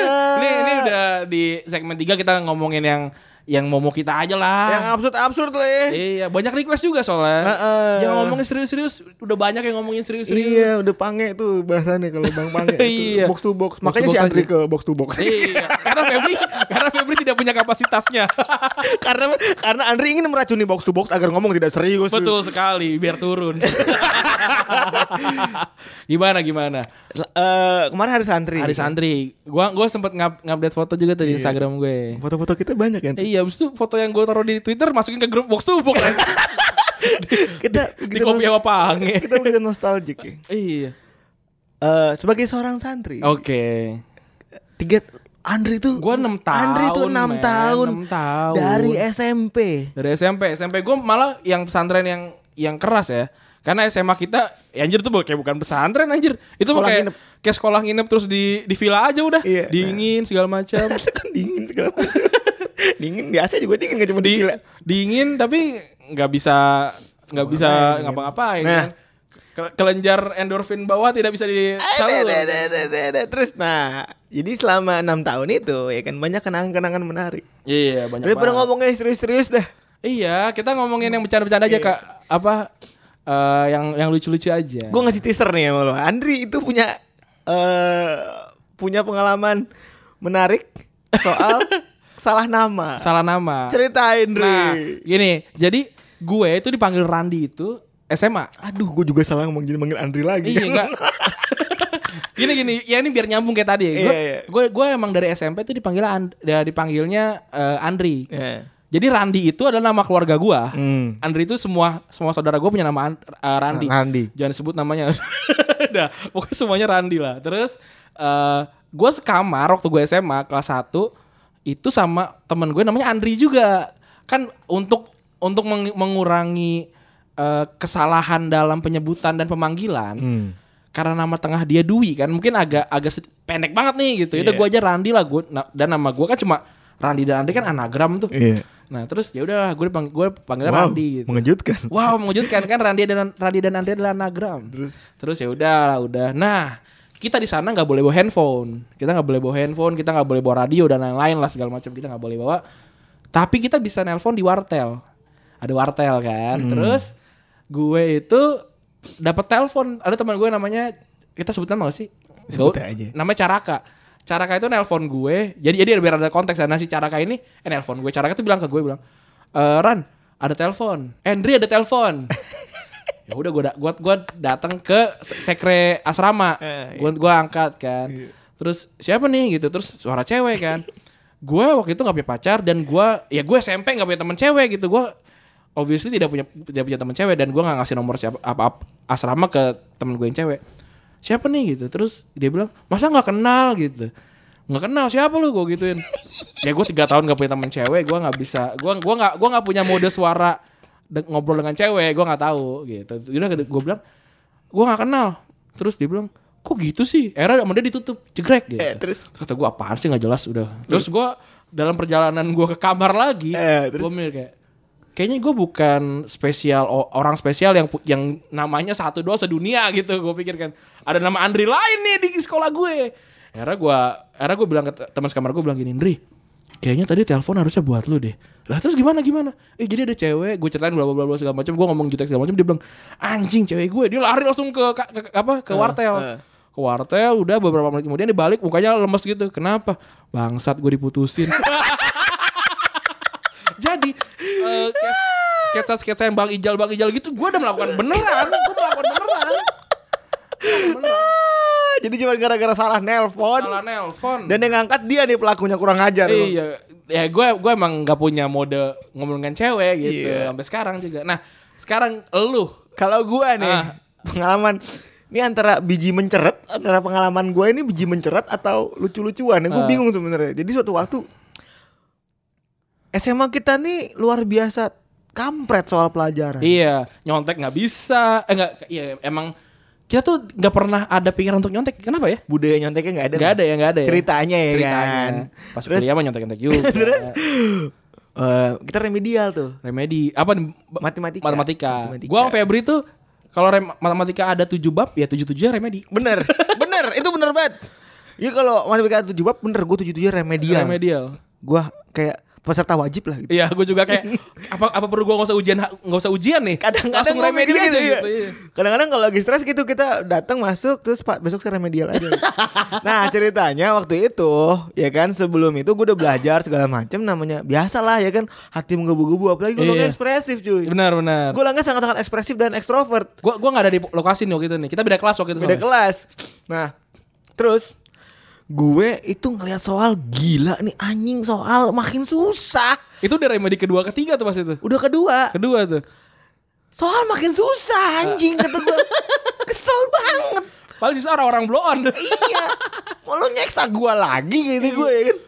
S3: Eh,
S2: ini ini udah di segmen 3 kita ngomongin yang yang momo kita aja lah.
S3: yang absurd-absurd lah ya.
S2: Iya, banyak request juga soalnya.
S3: Heeh.
S2: Jangan ngomongin serius-serius, udah banyak yang ngomongin serius-serius.
S3: Iya, udah pange tuh bahasannya kalau Bang Pange. Itu
S2: Iya.
S3: Box to
S2: Box
S3: box. Makanya
S2: to
S3: si
S2: box
S3: Andri
S2: aja.
S3: ke box to box.
S2: Iya, karena Febri, karena Febri tidak punya kapasitasnya.
S3: [laughs] karena karena Andri ingin meracuni box to box agar ngomong tidak serius.
S2: Betul sekali, biar turun. [laughs] gimana gimana?
S3: Eh, kemarin hari santri.
S2: Hari santri, gua gua sempet ngap ngupdate foto juga
S3: Iya.
S2: tuh di Instagram gue.
S3: Foto-foto kita banyak ya.
S2: Eh, Iya, abis itu foto yang gue taruh di Twitter masukin ke grup box tuh box
S3: [laughs] kita
S2: di kopi
S3: kita,
S2: sama Pange.
S3: kita begitu nostalgic ya.
S2: Iya.
S3: Eh, sebagai seorang santri.
S2: Oke.
S3: Tiga Andri tuh
S2: Oh. Gua enam
S3: Andri
S2: tahun,
S3: tuh 6
S2: men.
S3: tahun.
S2: Enam tahun.
S3: Dari SMP.
S2: Dari SMP, SMP gue malah yang pesantren yang yang keras ya. Karena SMA kita, ya anjir tuh bu- kayak bukan pesantren anjir. Itu mah
S3: Sekolah
S2: kayak
S3: nginep.
S2: kayak sekolah nginep terus di di villa aja udah.
S3: Iya.
S2: Dingin segala
S3: [laughs]
S2: macam.
S3: [laughs] kan dingin sekarang. [laughs] dingin biasa juga dingin gak cuma di gila.
S2: Dingin tapi nggak bisa nggak bisa ngapa-ngapain.
S3: Nah.
S2: kan. Ke- Kelenjar endorfin bawah tidak bisa
S3: Eh,
S2: disalurkan.
S3: Terus nah, jadi selama enam tahun itu ya kan banyak kenangan-kenangan menarik.
S2: Iya, banyak
S3: Daripada
S2: banget.
S3: ngomongnya serius-serius dah.
S2: Iya, kita ngomongin yang bercanda-bercanda
S3: Iya.
S2: aja Kak. Apa eh, yang yang lucu-lucu aja.
S3: Gue ngasih teaser nih sama lo. Andri itu punya eh punya pengalaman menarik
S2: [laughs]
S3: soal salah nama.
S2: salah nama.
S3: Ceritain, Ri.
S2: Nah, gini, jadi gue itu dipanggil Randi itu SMA.
S3: Aduh, gue juga salah ngomong jadi manggil Andri lagi.
S2: Iya
S3: [laughs]
S2: enggak? gini gini, ya ini biar nyambung kayak tadi. Gue
S3: Iya, iya.
S2: gue gue emang dari SMP itu dipanggil And- da- dipanggilnya eh, Andri.
S3: Iya.
S2: Jadi Randi itu adalah nama keluarga gue.
S3: Hmm.
S2: Andri itu semua semua saudara gue punya nama An- eh, Randi.
S3: Nah, Randi.
S2: Jangan sebut namanya. [laughs] Udah, pokoknya semuanya Randi lah. Terus eh gue sekamar waktu gue SMA kelas 1 itu sama temen gue namanya Andri juga. Kan untuk untuk meng- mengurangi eh, kesalahan dalam penyebutan dan pemanggilan.
S3: Hmm.
S2: Karena nama tengah dia Dwi kan mungkin agak agak sed- pendek banget nih gitu. Ya udah
S3: Iya.
S2: gue aja Randi lah gue dan nama gue kan cuma Randi dan Andri kan anagram tuh.
S3: Iya.
S2: Nah, terus ya udah gue dipanggil gue panggil
S3: Wow,
S2: Randi gitu.
S3: mengejutkan.
S2: Wow, mengejutkan kan Randi dan Randi dan Andri adalah anagram. Terus terus ya udah udah. Nah, kita di sana nggak boleh bawa handphone. Kita nggak boleh bawa handphone, kita nggak boleh bawa radio dan lain-lain lah segala macam kita nggak boleh bawa. Tapi kita bisa nelpon di wartel. Ada wartel kan.
S3: Hmm.
S2: Terus gue itu dapat telepon ada teman gue namanya kita sebut nama gak sih?
S3: Sebut
S2: Gak-
S3: aja.
S2: Namanya Caraka. Caraka itu nelpon gue. Jadi jadi biar ada konteks nah si Caraka ini eh nelpon gue. Caraka tuh bilang ke gue bilang, e, "Ran, ada telepon. "Eh, Andri ada telepon." ya udah gue da- gua gua datang ke se- sekre asrama. Gue gua angkat kan. Terus siapa nih gitu. Terus suara cewek kan. gue waktu itu nggak punya pacar dan gue ya gue SMP nggak punya teman cewek gitu. Gue obviously tidak punya tidak punya teman cewek dan gue nggak ngasih nomor siapa apa, apa- asrama ke temen gue yang cewek siapa nih gitu terus dia bilang masa nggak kenal gitu nggak kenal siapa lu gue gituin ya gue tiga tahun gak punya temen cewek gue nggak bisa gue gua nggak gua nggak punya mode suara de- ngobrol dengan cewek gue nggak tahu gitu udah gue bilang gue nggak kenal terus dia bilang kok gitu sih era sama dia ditutup jegrek gitu
S3: Eh, terus?
S2: kata gue apaan sih nggak jelas udah terus, gue dalam perjalanan gue ke kamar lagi
S3: Eh,
S2: gue Iya,
S3: terus?
S2: mikir kayak kayaknya gue bukan spesial o- orang spesial yang pu- yang namanya satu doa sedunia gitu gue pikir kan ada nama Andri lain nih di sekolah gue era gue era gue bilang ke te- teman sekamar gue bilang gini Andri kayaknya tadi telepon harusnya buat lu deh lah terus gimana gimana eh jadi ada cewek gue ceritain bla bla bla bla segala macam gue ngomong jutek segala macam dia bilang anjing cewek gue dia lari langsung ke, ka- ke- apa
S3: Eh,
S2: ke wartel ke wartel udah beberapa menit kemudian dia balik mukanya lemes gitu kenapa bangsat gue diputusin jadi eh, kes- sketsa-sketsa yang Bang Ijal Bang Ijal gitu gue udah melakukan beneran gue melakukan beneran
S3: Ah, Jadi cuma gara-gara salah nelpon
S2: salah nelpon
S3: dan yang ngangkat dia nih pelakunya kurang ajar. Bang.
S2: Iya, ya gue gue emang gak punya mode ngomongin cewek gitu
S3: Iya.
S2: sampai sekarang juga. Nah, sekarang elu
S3: Kalau gua nih
S2: Ah.
S3: pengalaman ini antara biji menceret antara pengalaman gua ini biji menceret atau lucu-lucuan. Gue
S2: Ah.
S3: bingung sebenarnya. Jadi suatu waktu SMA kita nih luar biasa kampret soal pelajaran.
S2: iya nyontek nggak bisa, eh nggak iya emang kita tuh nggak pernah ada pikiran untuk nyontek. Kenapa ya?
S3: Budaya nyonteknya nggak ada.
S2: Nggak ada ya, nggak ada. Ya.
S3: Ceritanya ya
S2: Ceritanya.
S3: kan.
S2: Pas
S3: Terus-
S2: kuliah mah nyontek-nyontek juga.
S3: [laughs] Terus eh, kita remedial tuh.
S2: remedi apa nih? Ba-
S3: Matematika.
S2: Matematika.
S3: Matematika.
S2: Gua sama Febri tuh kalau rem- matematika ada 7 bab, ya 7-7 remedi.
S3: Bener, bener, itu bener banget. Ya kalau matematika tujuh bab bener, gue tujuh tujuh remedial.
S2: Remedial.
S3: Gue kayak peserta wajib lah gitu.
S2: Iya, gue juga kayak apa apa perlu gue nggak usah ujian nggak usah ujian nih?
S3: Kadang-kadang
S2: langsung
S3: gua
S2: remedi aja
S3: mikir iya.
S2: gitu. iya.
S3: Kadang-kadang kalau lagi stres gitu kita datang masuk terus pak besok saya remedial [laughs] aja. nah ceritanya waktu itu ya kan sebelum itu gue udah belajar segala macam namanya biasalah ya kan hati menggebu-gebu apalagi gue
S2: Iya.
S3: ekspresif cuy.
S2: Benar benar.
S3: Gue langkah sangat-sangat ekspresif dan ekstrovert.
S2: Gue gue nggak ada di lokasi nih waktu itu nih. Kita beda kelas waktu itu. soalnya.
S3: beda kelas. Nah, terus gue itu ngelihat soal gila nih anjing soal makin susah.
S2: Itu udah remedi kedua ketiga tuh pas itu.
S3: Udah kedua,
S2: Kedua tuh.
S3: soal makin susah anjing kata
S2: [laughs]
S3: gue. Kesel banget.
S2: Paling sisa orang-orang blow on. tuh.
S3: Iya. Mau lu nyeksa gue lagi gitu gue ya kan.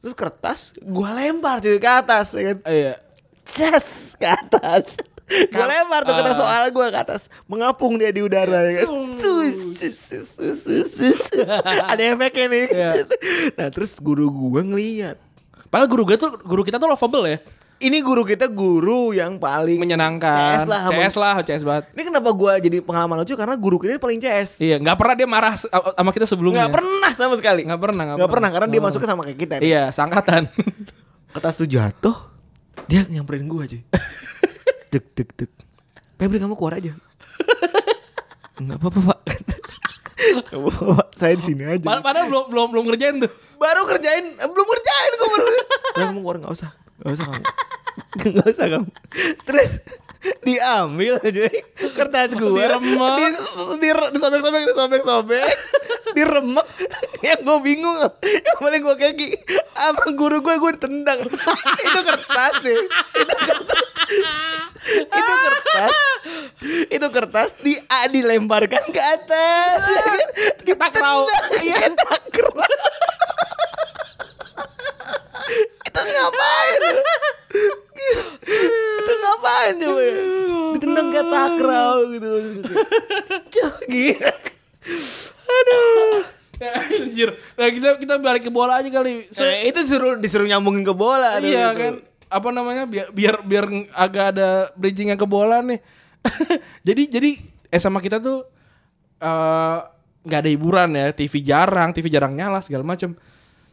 S3: Terus kertas gue lempar cuy ke atas ya kan.
S2: [laughs] Iya.
S3: Ces ke atas. Gue
S2: Kal-
S3: lempar tuh kertas
S2: Ah.
S3: soal gue ke atas Mengapung dia di udara ya kan Cus, cus, cus, cus, cus, cus,
S2: [laughs]
S3: cus. Ada efeknya nih
S2: Iya.
S3: Nah terus guru gue ngeliat
S2: Padahal guru gue tuh guru kita tuh lovable ya.
S3: Ini guru kita guru yang paling
S2: Menyenangkan.
S3: CS lah
S2: CS lah, CS banget.
S3: Ini kenapa gue jadi pengalaman lucu Karena guru kita ini paling CS
S2: Iya, nggak pernah dia marah se- sama kita sebelumnya.
S3: Nggak pernah sama sekali
S2: Nggak pernah, nggak
S3: Nggak
S2: pernah.
S3: karena dia
S2: Nggak
S3: masuknya sama kayak kita nih.
S2: Iya, sangkatan.
S3: Kertas tuh jatuh Dia nyamperin gue [laughs] cuy Dek dek dek Febri kamu keluar [laughs] aja Enggak apa-apa pak Nggak apa-apa pak Saya di sini aja
S2: Pad- [laughs] Padahal belum belum belum ngerjain tuh.
S3: Baru kerjain eh, Belum kerjain gue baru [laughs] Udah, Kamu keluar gak usah Gak usah [laughs] kamu Gak usah kamu Terus Diambil cuy Kertas gue
S2: Diremek.
S3: di, di, Disobek-sobek [laughs] Disobek-sobek Diremek Yang gue bingung Yang paling gue keki Sama guru gue Gue [laughs] ditendang Itu kertas sih Itu kertas itu kertas itu kertas di A dilemparkan ke atas [laughs]
S2: Kita kerau.
S3: Iya takraw. Itu ngapain? Itu ngapain coba ya? Ditendang ke takraw gitu. Cuk gila. Aduh.
S2: [laughs] Anjir. Nah, kita kita balik ke bola aja kali. So-
S3: Eh, itu suruh disuruh nyambungin ke bola tuh,
S2: iya
S3: gitu.
S2: kan apa namanya biar biar biar agak ada bridgingnya ke bola nih [laughs] jadi jadi SMA kita tuh eh, nggak ada hiburan ya TV jarang TV jarang nyala segala macem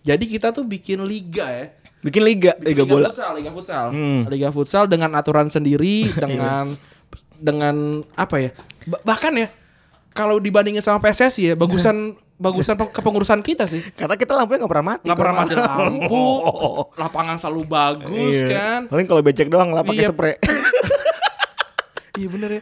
S2: jadi kita tuh bikin liga ya
S3: Bikin liga, liga bola.
S2: futsal liga Hmm. futsal liga futsal dengan aturan [laughs] sendiri dengan dengan apa ya ba- bahkan ya kalau dibandingin sama PSSI ya [laughs] bagusan bagusan pe- kepengurusan kita sih
S3: Karena kita lampunya nggak pernah mati.
S2: nggak pernah mati lampu
S3: Oh.
S2: lapangan selalu bagus
S3: [laughs] Iya.
S2: kan
S3: Paling kalau becek doang lah pakai
S2: Iya.
S3: [laughs] spray.
S2: Iya bener ya.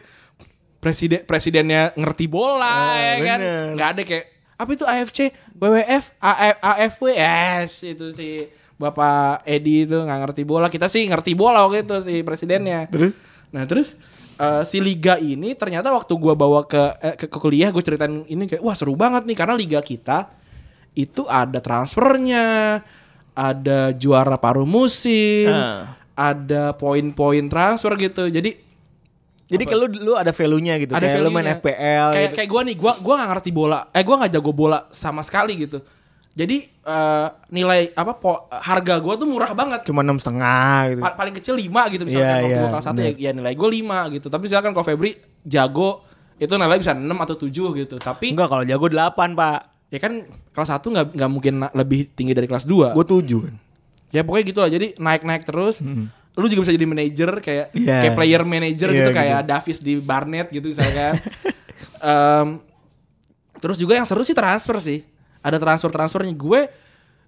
S2: Presiden presidennya ngerti bola
S3: Ah,
S2: ya kan.
S3: bener.
S2: Nggak ada kayak apa itu AFC, WWF, AF, AFW, yes itu sih Bapak Edi itu nggak ngerti bola. Kita sih ngerti bola waktu itu si presidennya.
S3: Terus?
S2: Nah terus eh, si liga ini ternyata waktu gua bawa ke eh, ke, ke kuliah gue ceritain ini kayak wah seru banget nih karena liga kita itu ada transfernya, ada juara paruh musim,
S3: Ah.
S2: ada poin-poin transfer gitu. Jadi
S3: Jadi kalau lu ada value-nya gitu. kayak lu main
S2: value-nya.
S3: FPL
S2: Kayak
S3: gitu.
S2: kayak gua nih, gua gua nggak ngerti bola. Eh gua nggak jago bola sama sekali gitu. Jadi eh, nilai apa po- harga gua tuh murah banget.
S3: cuma enam setengah gitu.
S2: Pa- paling kecil 5 gitu misalkan
S3: Iya,
S2: waktu
S3: iya,
S2: gua kelas 1 ya,
S3: bener.
S2: ya nilai gua 5 gitu. Tapi misalkan kalau Febri jago itu nilai bisa 6 atau 7 gitu. Tapi
S3: Enggak kalau jago 8, Pak.
S2: ya kan kelas 1 nggak nggak mungkin na- lebih tinggi dari kelas 2.
S3: Gue 7 kan.
S2: Ya pokoknya gitu lah. Jadi naik-naik terus. Lu juga bisa jadi manajer kayak
S3: Mm-hmm. Iya.
S2: kayak player manager
S3: Iya,
S2: gitu
S3: gitu.
S2: kayak Davis di Barnet gitu
S3: [laughs]
S2: misalkan. Em, terus juga yang seru sih transfer sih. Ada transfer-transfernya gue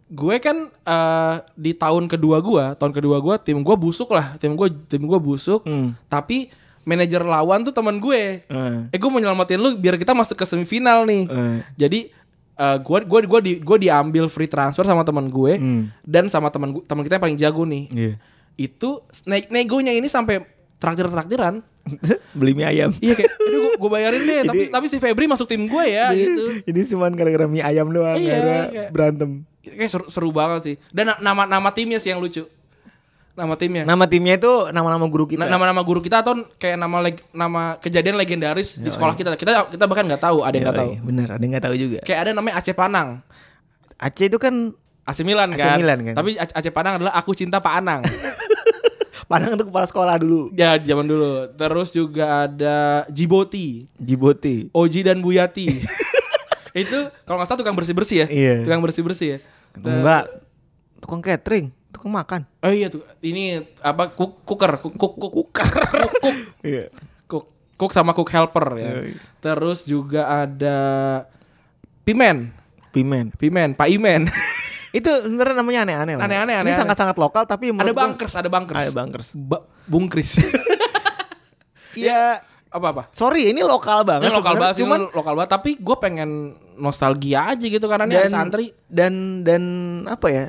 S2: gue kan eh, di tahun kedua gue, tahun kedua gue tim gue busuk lah, tim gue tim gue busuk.
S3: Hmm.
S2: Tapi manajer lawan tuh teman gue.
S3: Hmm.
S2: Eh gue mau nyelamatin lu biar kita masuk ke semifinal nih.
S3: Hmm.
S2: Jadi eh, gue gue gue di gue diambil free transfer sama teman gue
S3: Hmm.
S2: dan sama teman gu- teman kita yang paling jago nih.
S3: Iya.
S2: Itu ne- negonya ini sampai traktir-traktiran.
S3: [laughs] Beli mie ayam.
S2: Iya kayak aduh gue, bayarin
S3: [laughs]
S2: deh tapi
S3: Jadi-
S2: tapi si Febri masuk tim gue ya gitu.
S3: Ini cuman gara-gara mie ayam doang
S2: Iya,
S3: akhirnya
S2: kayak-
S3: berantem.
S2: Kayak seru, seru banget sih. Dan na- nama nama timnya sih yang lucu. Nama timnya.
S3: Nama timnya itu nama-nama guru Nah, kita.
S2: Na- nama-nama guru kita atau kayak nama leg- nama kejadian legendaris di sekolah kita. Kita kita bahkan nggak tahu, ada yang nggak tahu.
S3: Bener, ada yang nggak tahu juga.
S2: Kayak ada namanya Aceh Panang.
S3: Aceh itu kan
S2: AC Milan
S3: AC
S2: kan.
S3: Milan kan.
S2: Tapi A- Aceh Panang adalah aku cinta Pak
S3: [laughs]
S2: Anang.
S3: Padang itu kepala sekolah dulu.
S2: ya zaman dulu. Terus juga ada Jiboti,
S3: Diboti.
S2: Oji dan Buyati. [laughs] itu kalau nggak salah tukang bersih bersih ya.
S3: Iya.
S2: Tukang bersih bersih ya. Ter-
S3: Enggak. Tukang catering, tukang makan.
S2: Oh iya tuh. Ini apa cook, cooker, cook, cook, cook, cook, cook,
S3: Iya.
S2: cook, cook sama cook helper ya.
S3: Iya.
S2: Terus juga ada Pimen,
S3: Pimen.
S2: Pimen, Pak
S3: [laughs]
S2: Imen.
S3: Itu sebenarnya namanya aneh-aneh. lah.
S2: Aneh-aneh,
S3: Ini
S2: aneh-aneh.
S3: sangat-sangat lokal tapi
S2: ada
S3: menurut gua-
S2: bangkers, ada bangkers.
S3: Ada bangkers.
S2: Ba-
S3: [laughs]
S2: bungkris.
S3: Iya.
S2: apa apa?
S3: Sorry, ini lokal banget.
S2: Ini lokal
S3: sebenarnya.
S2: banget sih,
S3: Cuman
S2: ini lokal banget. Tapi gue pengen nostalgia aja gitu karena ini ada santri.
S3: dan dan apa ya?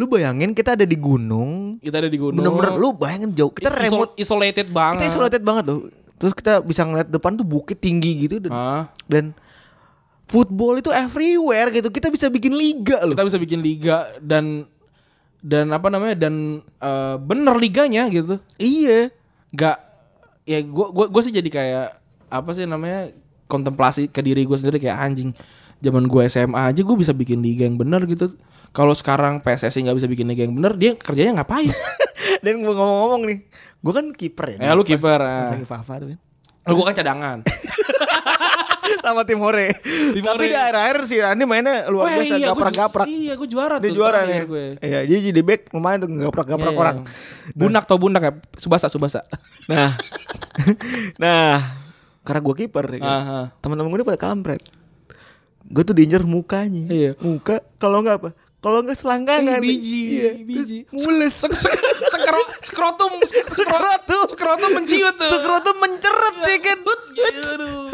S3: Lu bayangin kita ada di gunung.
S2: Kita ada di gunung.
S3: Bener-bener lu bayangin jauh. Kita
S2: Iso-
S3: remote.
S2: isolated banget.
S3: Kita isolated banget loh. Terus kita bisa ngeliat depan tuh bukit tinggi gitu dan
S2: Hah?
S3: dan football itu everywhere gitu. Kita bisa bikin liga loh.
S2: Kita bisa bikin liga dan dan apa namanya dan eh, bener liganya gitu.
S3: Iya.
S2: Gak ya gue gua, gua sih jadi kayak apa sih namanya kontemplasi ke diri gue sendiri kayak anjing zaman gue SMA aja gue bisa bikin liga yang bener gitu. Kalau sekarang PSSI nggak bisa bikin liga yang bener dia kerjanya
S3: [laughs]
S2: ngapain?
S3: Dan gua ngomong-ngomong nih, gua kan kiper
S2: ya
S3: ya.
S2: lu kiper. ah.
S3: Lagi Fafa tuh kan.
S2: Lu gue kan cadangan.
S3: [laughs] Sama tim Hore.
S2: Tim
S3: Tapi
S2: Hore.
S3: di akhir-akhir si Rani mainnya luar
S2: Wah,
S3: biasa
S2: iya, gua ju-
S3: gaprak-gaprak.
S2: Iya, gue juara
S3: Dia
S2: tuh
S3: juara
S2: terakhir
S3: nih.
S2: gue.
S3: Iya, jadi di back lumayan tuh gaprak-gaprak
S2: Iya,
S3: orang.
S2: iya. Bunak tau bunak ya, Subasa Subasa.
S3: Nah. [laughs] nah, karena gua kiper ya. kan.
S2: Aha.
S3: Teman-teman gue pada kampret. Gue tuh diinjer mukanya.
S2: Iya.
S3: Muka kalau nggak apa? Kalau nggak selangkangan.
S2: Eh, biji,
S3: Iya.
S2: biji.
S3: Terus Mules.
S2: Sekro, skrotum, skro-
S3: Skrotum.
S2: skrotum menciut tuh. Iya. gitu.
S3: Sekrotum menceret ya kan.
S2: Aduh.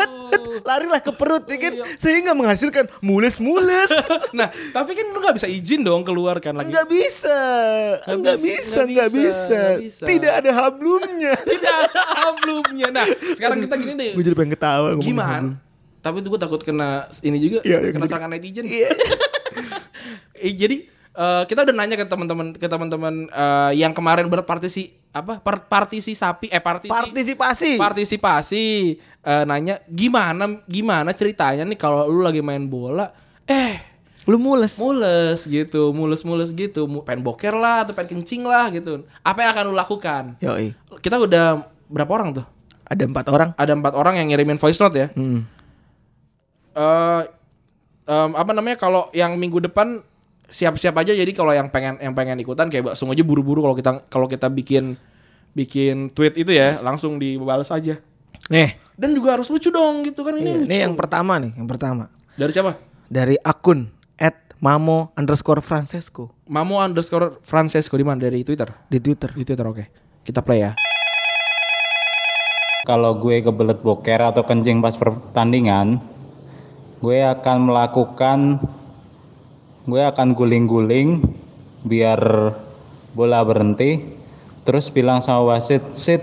S3: Larilah ke perut ya kan.
S2: Iya.
S3: Sehingga menghasilkan mules-mules.
S2: [laughs] Nah, tapi kan lu gak bisa izin dong keluar kan lagi.
S3: Enggak bisa. Enggak bisa, enggak bisa.
S2: nggak bisa.
S3: Tidak ada hablumnya.
S2: [laughs] Tidak ada hablumnya. Nah, sekarang kita gini deh.
S3: gue jadi pengen ketawa ngomongin hablum.
S2: Gimana? Tapi tuh gue takut kena ini juga,
S3: Iya, iya,
S2: kena
S3: jadi-
S2: serangan netizen.
S3: Iya.
S2: [laughs] Eh, jadi eh, kita udah nanya ke teman-teman ke teman-teman eh, yang kemarin berpartisi apa per, partisi sapi eh partisi
S3: Partisipasi.
S2: partisipasi eh, nanya gimana gimana ceritanya nih kalau lu lagi main bola eh
S3: Lu mules.
S2: mules gitu mules mules gitu Mu- pengen boker lah atau pengen kencing lah gitu apa yang akan lu lakukan
S3: Yoi.
S2: kita udah berapa orang tuh
S3: Ada empat orang.
S2: ada empat orang yang ngirimin voice note ya
S3: Hmm.
S2: eh em, apa namanya kalau yang minggu depan siap-siap aja jadi kalau yang pengen yang pengen ikutan kayak langsung aja buru-buru kalau kita kalau kita bikin bikin tweet itu ya langsung dibalas aja
S3: Nih.
S2: dan juga harus lucu dong gitu kan ini
S3: Iya,
S2: lucu.
S3: Ini yang pertama nih, yang pertama
S2: dari siapa
S3: dari akun at mamo underscore Francesco
S2: Mamo underscore Francesco di mana dari Twitter
S3: di Twitter.
S2: di Twitter oke kita play ya
S5: Kalau gue kebelet boker atau kencing pas pertandingan, gue akan melakukan gue akan guling-guling biar bola berhenti, terus bilang sama wasit, "Sit,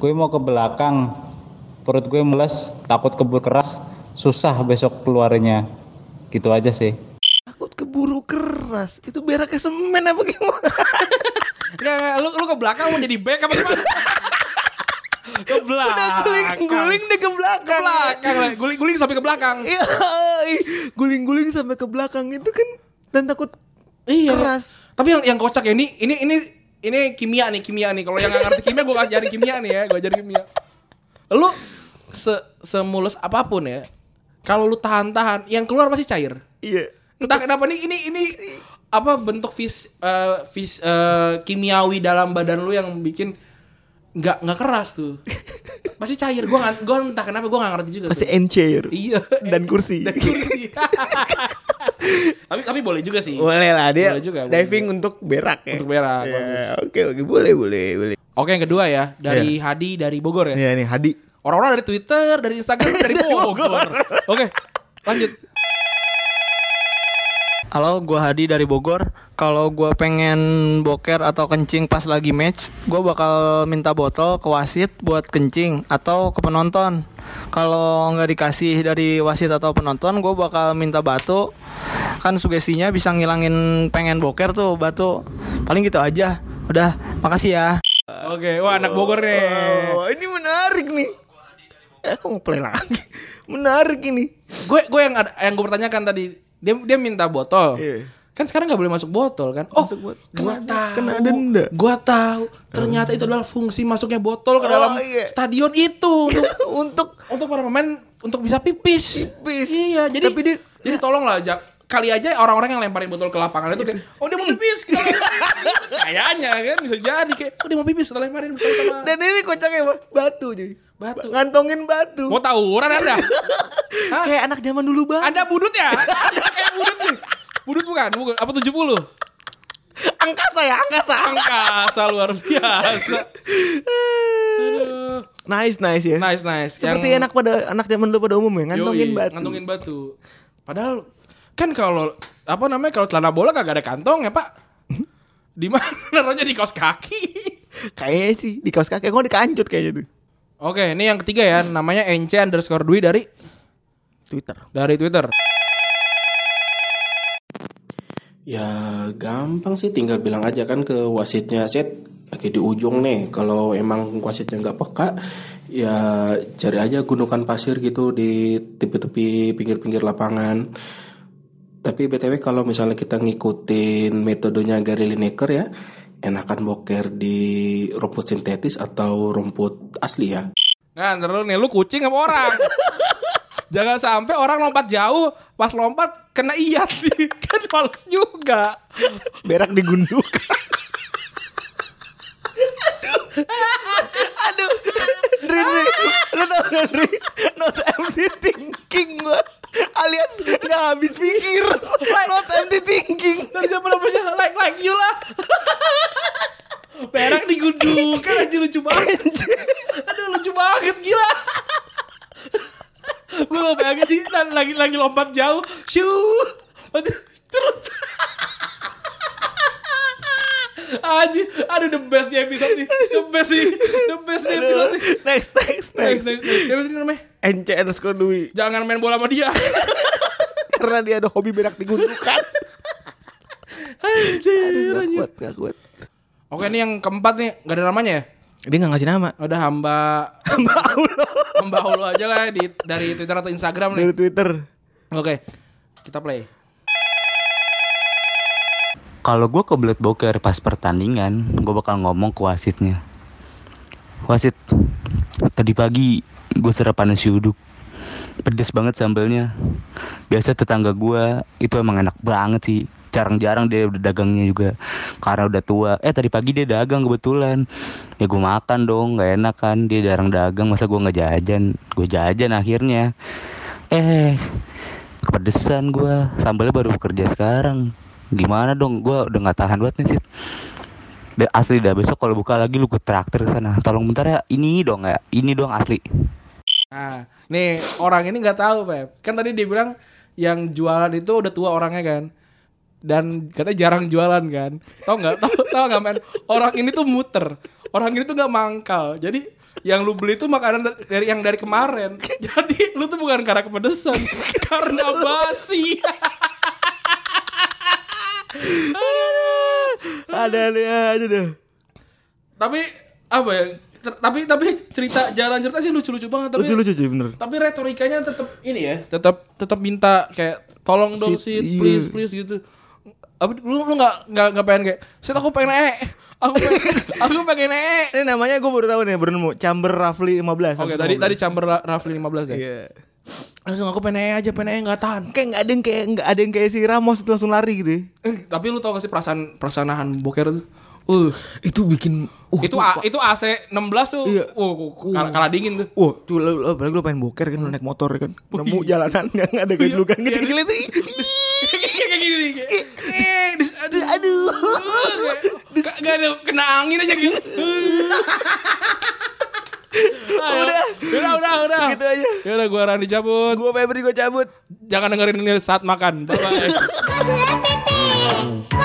S5: gue mau ke belakang. Perut gue mules, takut kebur keras, susah besok keluarnya." Gitu aja sih.
S3: Takut keburu keras. Itu beraknya semen apa gimana? [laughs]
S2: Nggak, nggak, lu lu ke belakang mau jadi back apa gimana Ke belakang.
S3: Udah guling-guling deh ke belakang.
S2: belakang lah. Guling-guling sampai ke belakang.
S3: Iya, oi. guling-guling sampai ke belakang itu kan dan takut keras.
S2: Iya. Tapi yang yang kocak ya ini ini ini ini kimia nih, kimia nih. Kalau yang nggak ngerti kimia gua ajarin kimia nih ya, gua ajarin kimia. Lu se semulus apapun ya, kalau lu tahan-tahan, yang keluar pasti cair.
S3: Iya.
S2: Entah kenapa nih ini ini apa bentuk fis eh, fis eh, kimiawi dalam badan lu yang bikin nggak nggak keras
S3: [laughs]
S2: tuh. Pasti cair. Gua nggak- gua entah kenapa gua nggak ngerti juga.
S3: Pasti
S2: tuh.
S3: end chair.
S2: Iya.
S3: Dan kursi.
S2: Dan kursi. [laughs] tapi tapi boleh juga sih.
S3: Boleh lah dia
S2: Boleh juga, boleh
S3: diving untuk berak ya.
S2: Untuk berak,
S3: Iya,
S2: bagus.
S3: Oke oke boleh boleh boleh.
S2: Oke yang kedua ya dari Hadi dari Bogor ya.
S3: Iya nih Hadi.
S2: Orang-orang dari Twitter, dari Instagram,
S3: [laughs]
S2: dari Bogor. Oke, lanjut.
S6: Halo, gua Hadi dari Bogor. Kalau gua pengen boker atau kencing pas lagi match, gua bakal minta botol ke wasit buat kencing atau ke penonton. Kalau nggak dikasih dari wasit atau penonton, gua bakal minta batu. Kan sugestinya bisa ngilangin pengen boker tuh batu. Paling gitu aja. Udah, makasih ya.
S2: Oke, wah anak Bogor nih.
S3: Oh ini menarik nih. Eh aku ngeplay lagi. [laughs] Menarik ini.
S2: Gue gue yang ada, yang gue pertanyakan tadi, dia dia minta botol.
S3: Iya.
S2: Kan sekarang nggak boleh masuk botol kan? Oh,
S3: Masuk botol.
S2: gua
S3: Kena-
S2: tahu.
S3: kena denda.
S2: Gua tahu. Ternyata itu adalah fungsi masuknya botol ke
S3: Oh,
S2: dalam
S3: iya.
S2: stadion
S3: [laughs]
S2: itu untuk
S3: Untuk
S2: untuk para pemain untuk bisa pipis.
S3: Pipis.
S2: Iya, jadi
S3: Tapi dia-
S2: jadi tolonglah Jak. kali aja orang-orang yang lemparin botol ke lapangan itu kayak
S3: Gitu.
S2: oh dia mau pipis kita lemparin. [laughs] kayaknya kan bisa jadi kayak oh dia mau pipis kita lemparin bersama sama
S3: dan ini kocaknya apa? Batu cuy.
S2: Batu.
S3: Ba- Ngantongin batu. [laughs]
S2: mau tawuran anda Hah?
S3: Kayak anak zaman dulu banget.
S2: anda budut
S3: [laughs]
S2: ya Anda kayak budut nih budut bukan, bukan. apa 70
S3: Angkasa ya, angkasa.
S2: angkasa luar biasa Aduh.
S3: [laughs] nice nice ya.
S2: nice nice
S3: Seperti
S2: Yang-
S3: anak pada anak zaman dulu pada umumnya ngantongin
S2: Yoi,
S3: batu.
S2: ngantongin batu. Padahal kan kalau apa namanya kalau celana bola kagak ada kantong ya
S3: [laughs]
S2: pak. Di mana naruhnya di kaos kaki.
S3: Kayaknya sih di kaos kaki, kok dikancut kayaknya tuh.
S2: Oke, ini yang ketiga ya, namanya NC underscore Dwi dari
S3: Twitter.
S2: dari Twitter.
S7: Ya gampang sih tinggal bilang aja kan ke wasitnya set lagi di ujung nih kalau emang wasitnya nggak peka ya cari aja gundukan pasir gitu di tepi-tepi pinggir-pinggir lapangan tapi btw kalau misalnya kita ngikutin metodenya Gary Lineker ya enakan boker di rumput sintetis atau rumput asli ya
S2: Nah, ntar lu nih lu kucing sama
S3: [laughs]
S2: orang. Jangan sampai orang lompat jauh, pas lompat kena iat nih. [laughs] Kan males juga.
S3: Berak digundukan. Aduh. Aduh. Rin, Rin. Lu tau gak, Rin? Not empty thinking gua. Alias gak habis pikir. Not empty thinking.
S2: Dari zaman namanya like like you lah. Perak digundukan aja lucu banget. Aduh lucu banget gila. Gue gak bayangin sih dan lagi lagi lompat jauh. Shoo. Aduh, Terus. Aji, aduh the best di episode ini. The best sih. The best di episode ini.
S3: [laughs] Next, next,
S2: Next,
S3: next.
S2: next, next. Siapa tadi namanya?
S3: NC underscore Dwi.
S2: Jangan main bola sama dia.
S3: Karena dia ada hobi berak digundukan. Anjir, Gak kuat, gak kuat.
S2: Oke, ini yang keempat nih. Gak ada namanya ya?
S3: Dia gak ngasih nama.
S2: Oh, Udah hamba
S3: Hamba Allah.
S2: Mbak Ulu aja lah di, dari Twitter atau Instagram nih.
S3: Dari Twitter.
S2: Oke, kita play.
S8: Kalau gue kebelet boker pas pertandingan, gue bakal ngomong ke wasitnya. Wasit, tadi pagi gue sarapan nasi uduk. Pedes banget sambelnya. Biasa tetangga gue itu emang enak banget sih. Jarang-jarang dia udah dagangnya juga karena udah tua. Eh tadi pagi dia dagang kebetulan. Ya gue makan dong, nggak enak kan. Dia jarang dagang, masa gue nggak jajan. Gue jajan akhirnya. Eh, kepedesan gue. Sambalnya baru bekerja sekarang gimana dong gue udah nggak tahan banget nih sih asli dah besok kalau buka lagi lu gue traktir ke sana tolong bentar ya ini dong ya ini dong asli
S2: Nah, nih orang ini nggak tahu, Pep. Kan tadi dia bilang yang jualan itu udah tua orangnya kan. Dan katanya jarang jualan kan. Tahu nggak? Tahu tahu nggak men? Orang ini tuh muter. Orang ini tuh nggak mangkal. Jadi yang lu beli tuh makanan da- dari yang dari kemarin. [laughs] Jadi lu tuh bukan karena kepedesan, [laughs] karena basi. [laughs]
S3: Ada dia aja deh.
S2: Tapi apa ya? ter- tapi tapi cerita jalan cerita sih lucu-lucu banget tapi
S3: Lucu-lucu sih bener
S2: tapi retorikanya tetap ini ya tetap tetap minta kayak tolong dong
S3: Sit,
S2: sit,
S3: iya.
S2: please please gitu apa lu lu nggak nggak nggak pengen kayak sit aku pengen ee aku pengen [laughs] aku pengen ee
S3: Ini namanya gue baru tahu nih baru nemu Chamber Rafli 15
S2: oke tadi tadi chamber Ra- Rafli 15 ya
S3: Iya
S2: langsung aku pengen ee aja pengen ee nggak tahan
S3: Kayak gak ada yang kayak nggak ada yang kayak si Ramos itu langsung lari gitu ya.
S2: Eh, tapi lu tau gak sih perasaan perasaan nahan boker tuh uh
S3: Itu bikin uh,
S2: itu A- itu AC 16 tuh
S3: Iya.
S2: uh, kalah, kalah dingin tuh [laughs]
S3: Wah, tuh lu, lu, apalagi lu pengen boker kan, lu naik motor kan Nemu jalanan gak ada kayak dulu kan Kecil-kecil itu
S2: kayak gini nih kayak, eh, dis- aduh
S3: Aduh
S2: Gak, gak ada kena angin aja gitu. udah, udah, udah, udah.
S3: Segitu aja.
S2: Ya udah gua Rani cabut.
S3: Gue Febri, gue cabut
S2: Jangan dengerin ini saat makan. Bye bye.
S9: Pepe.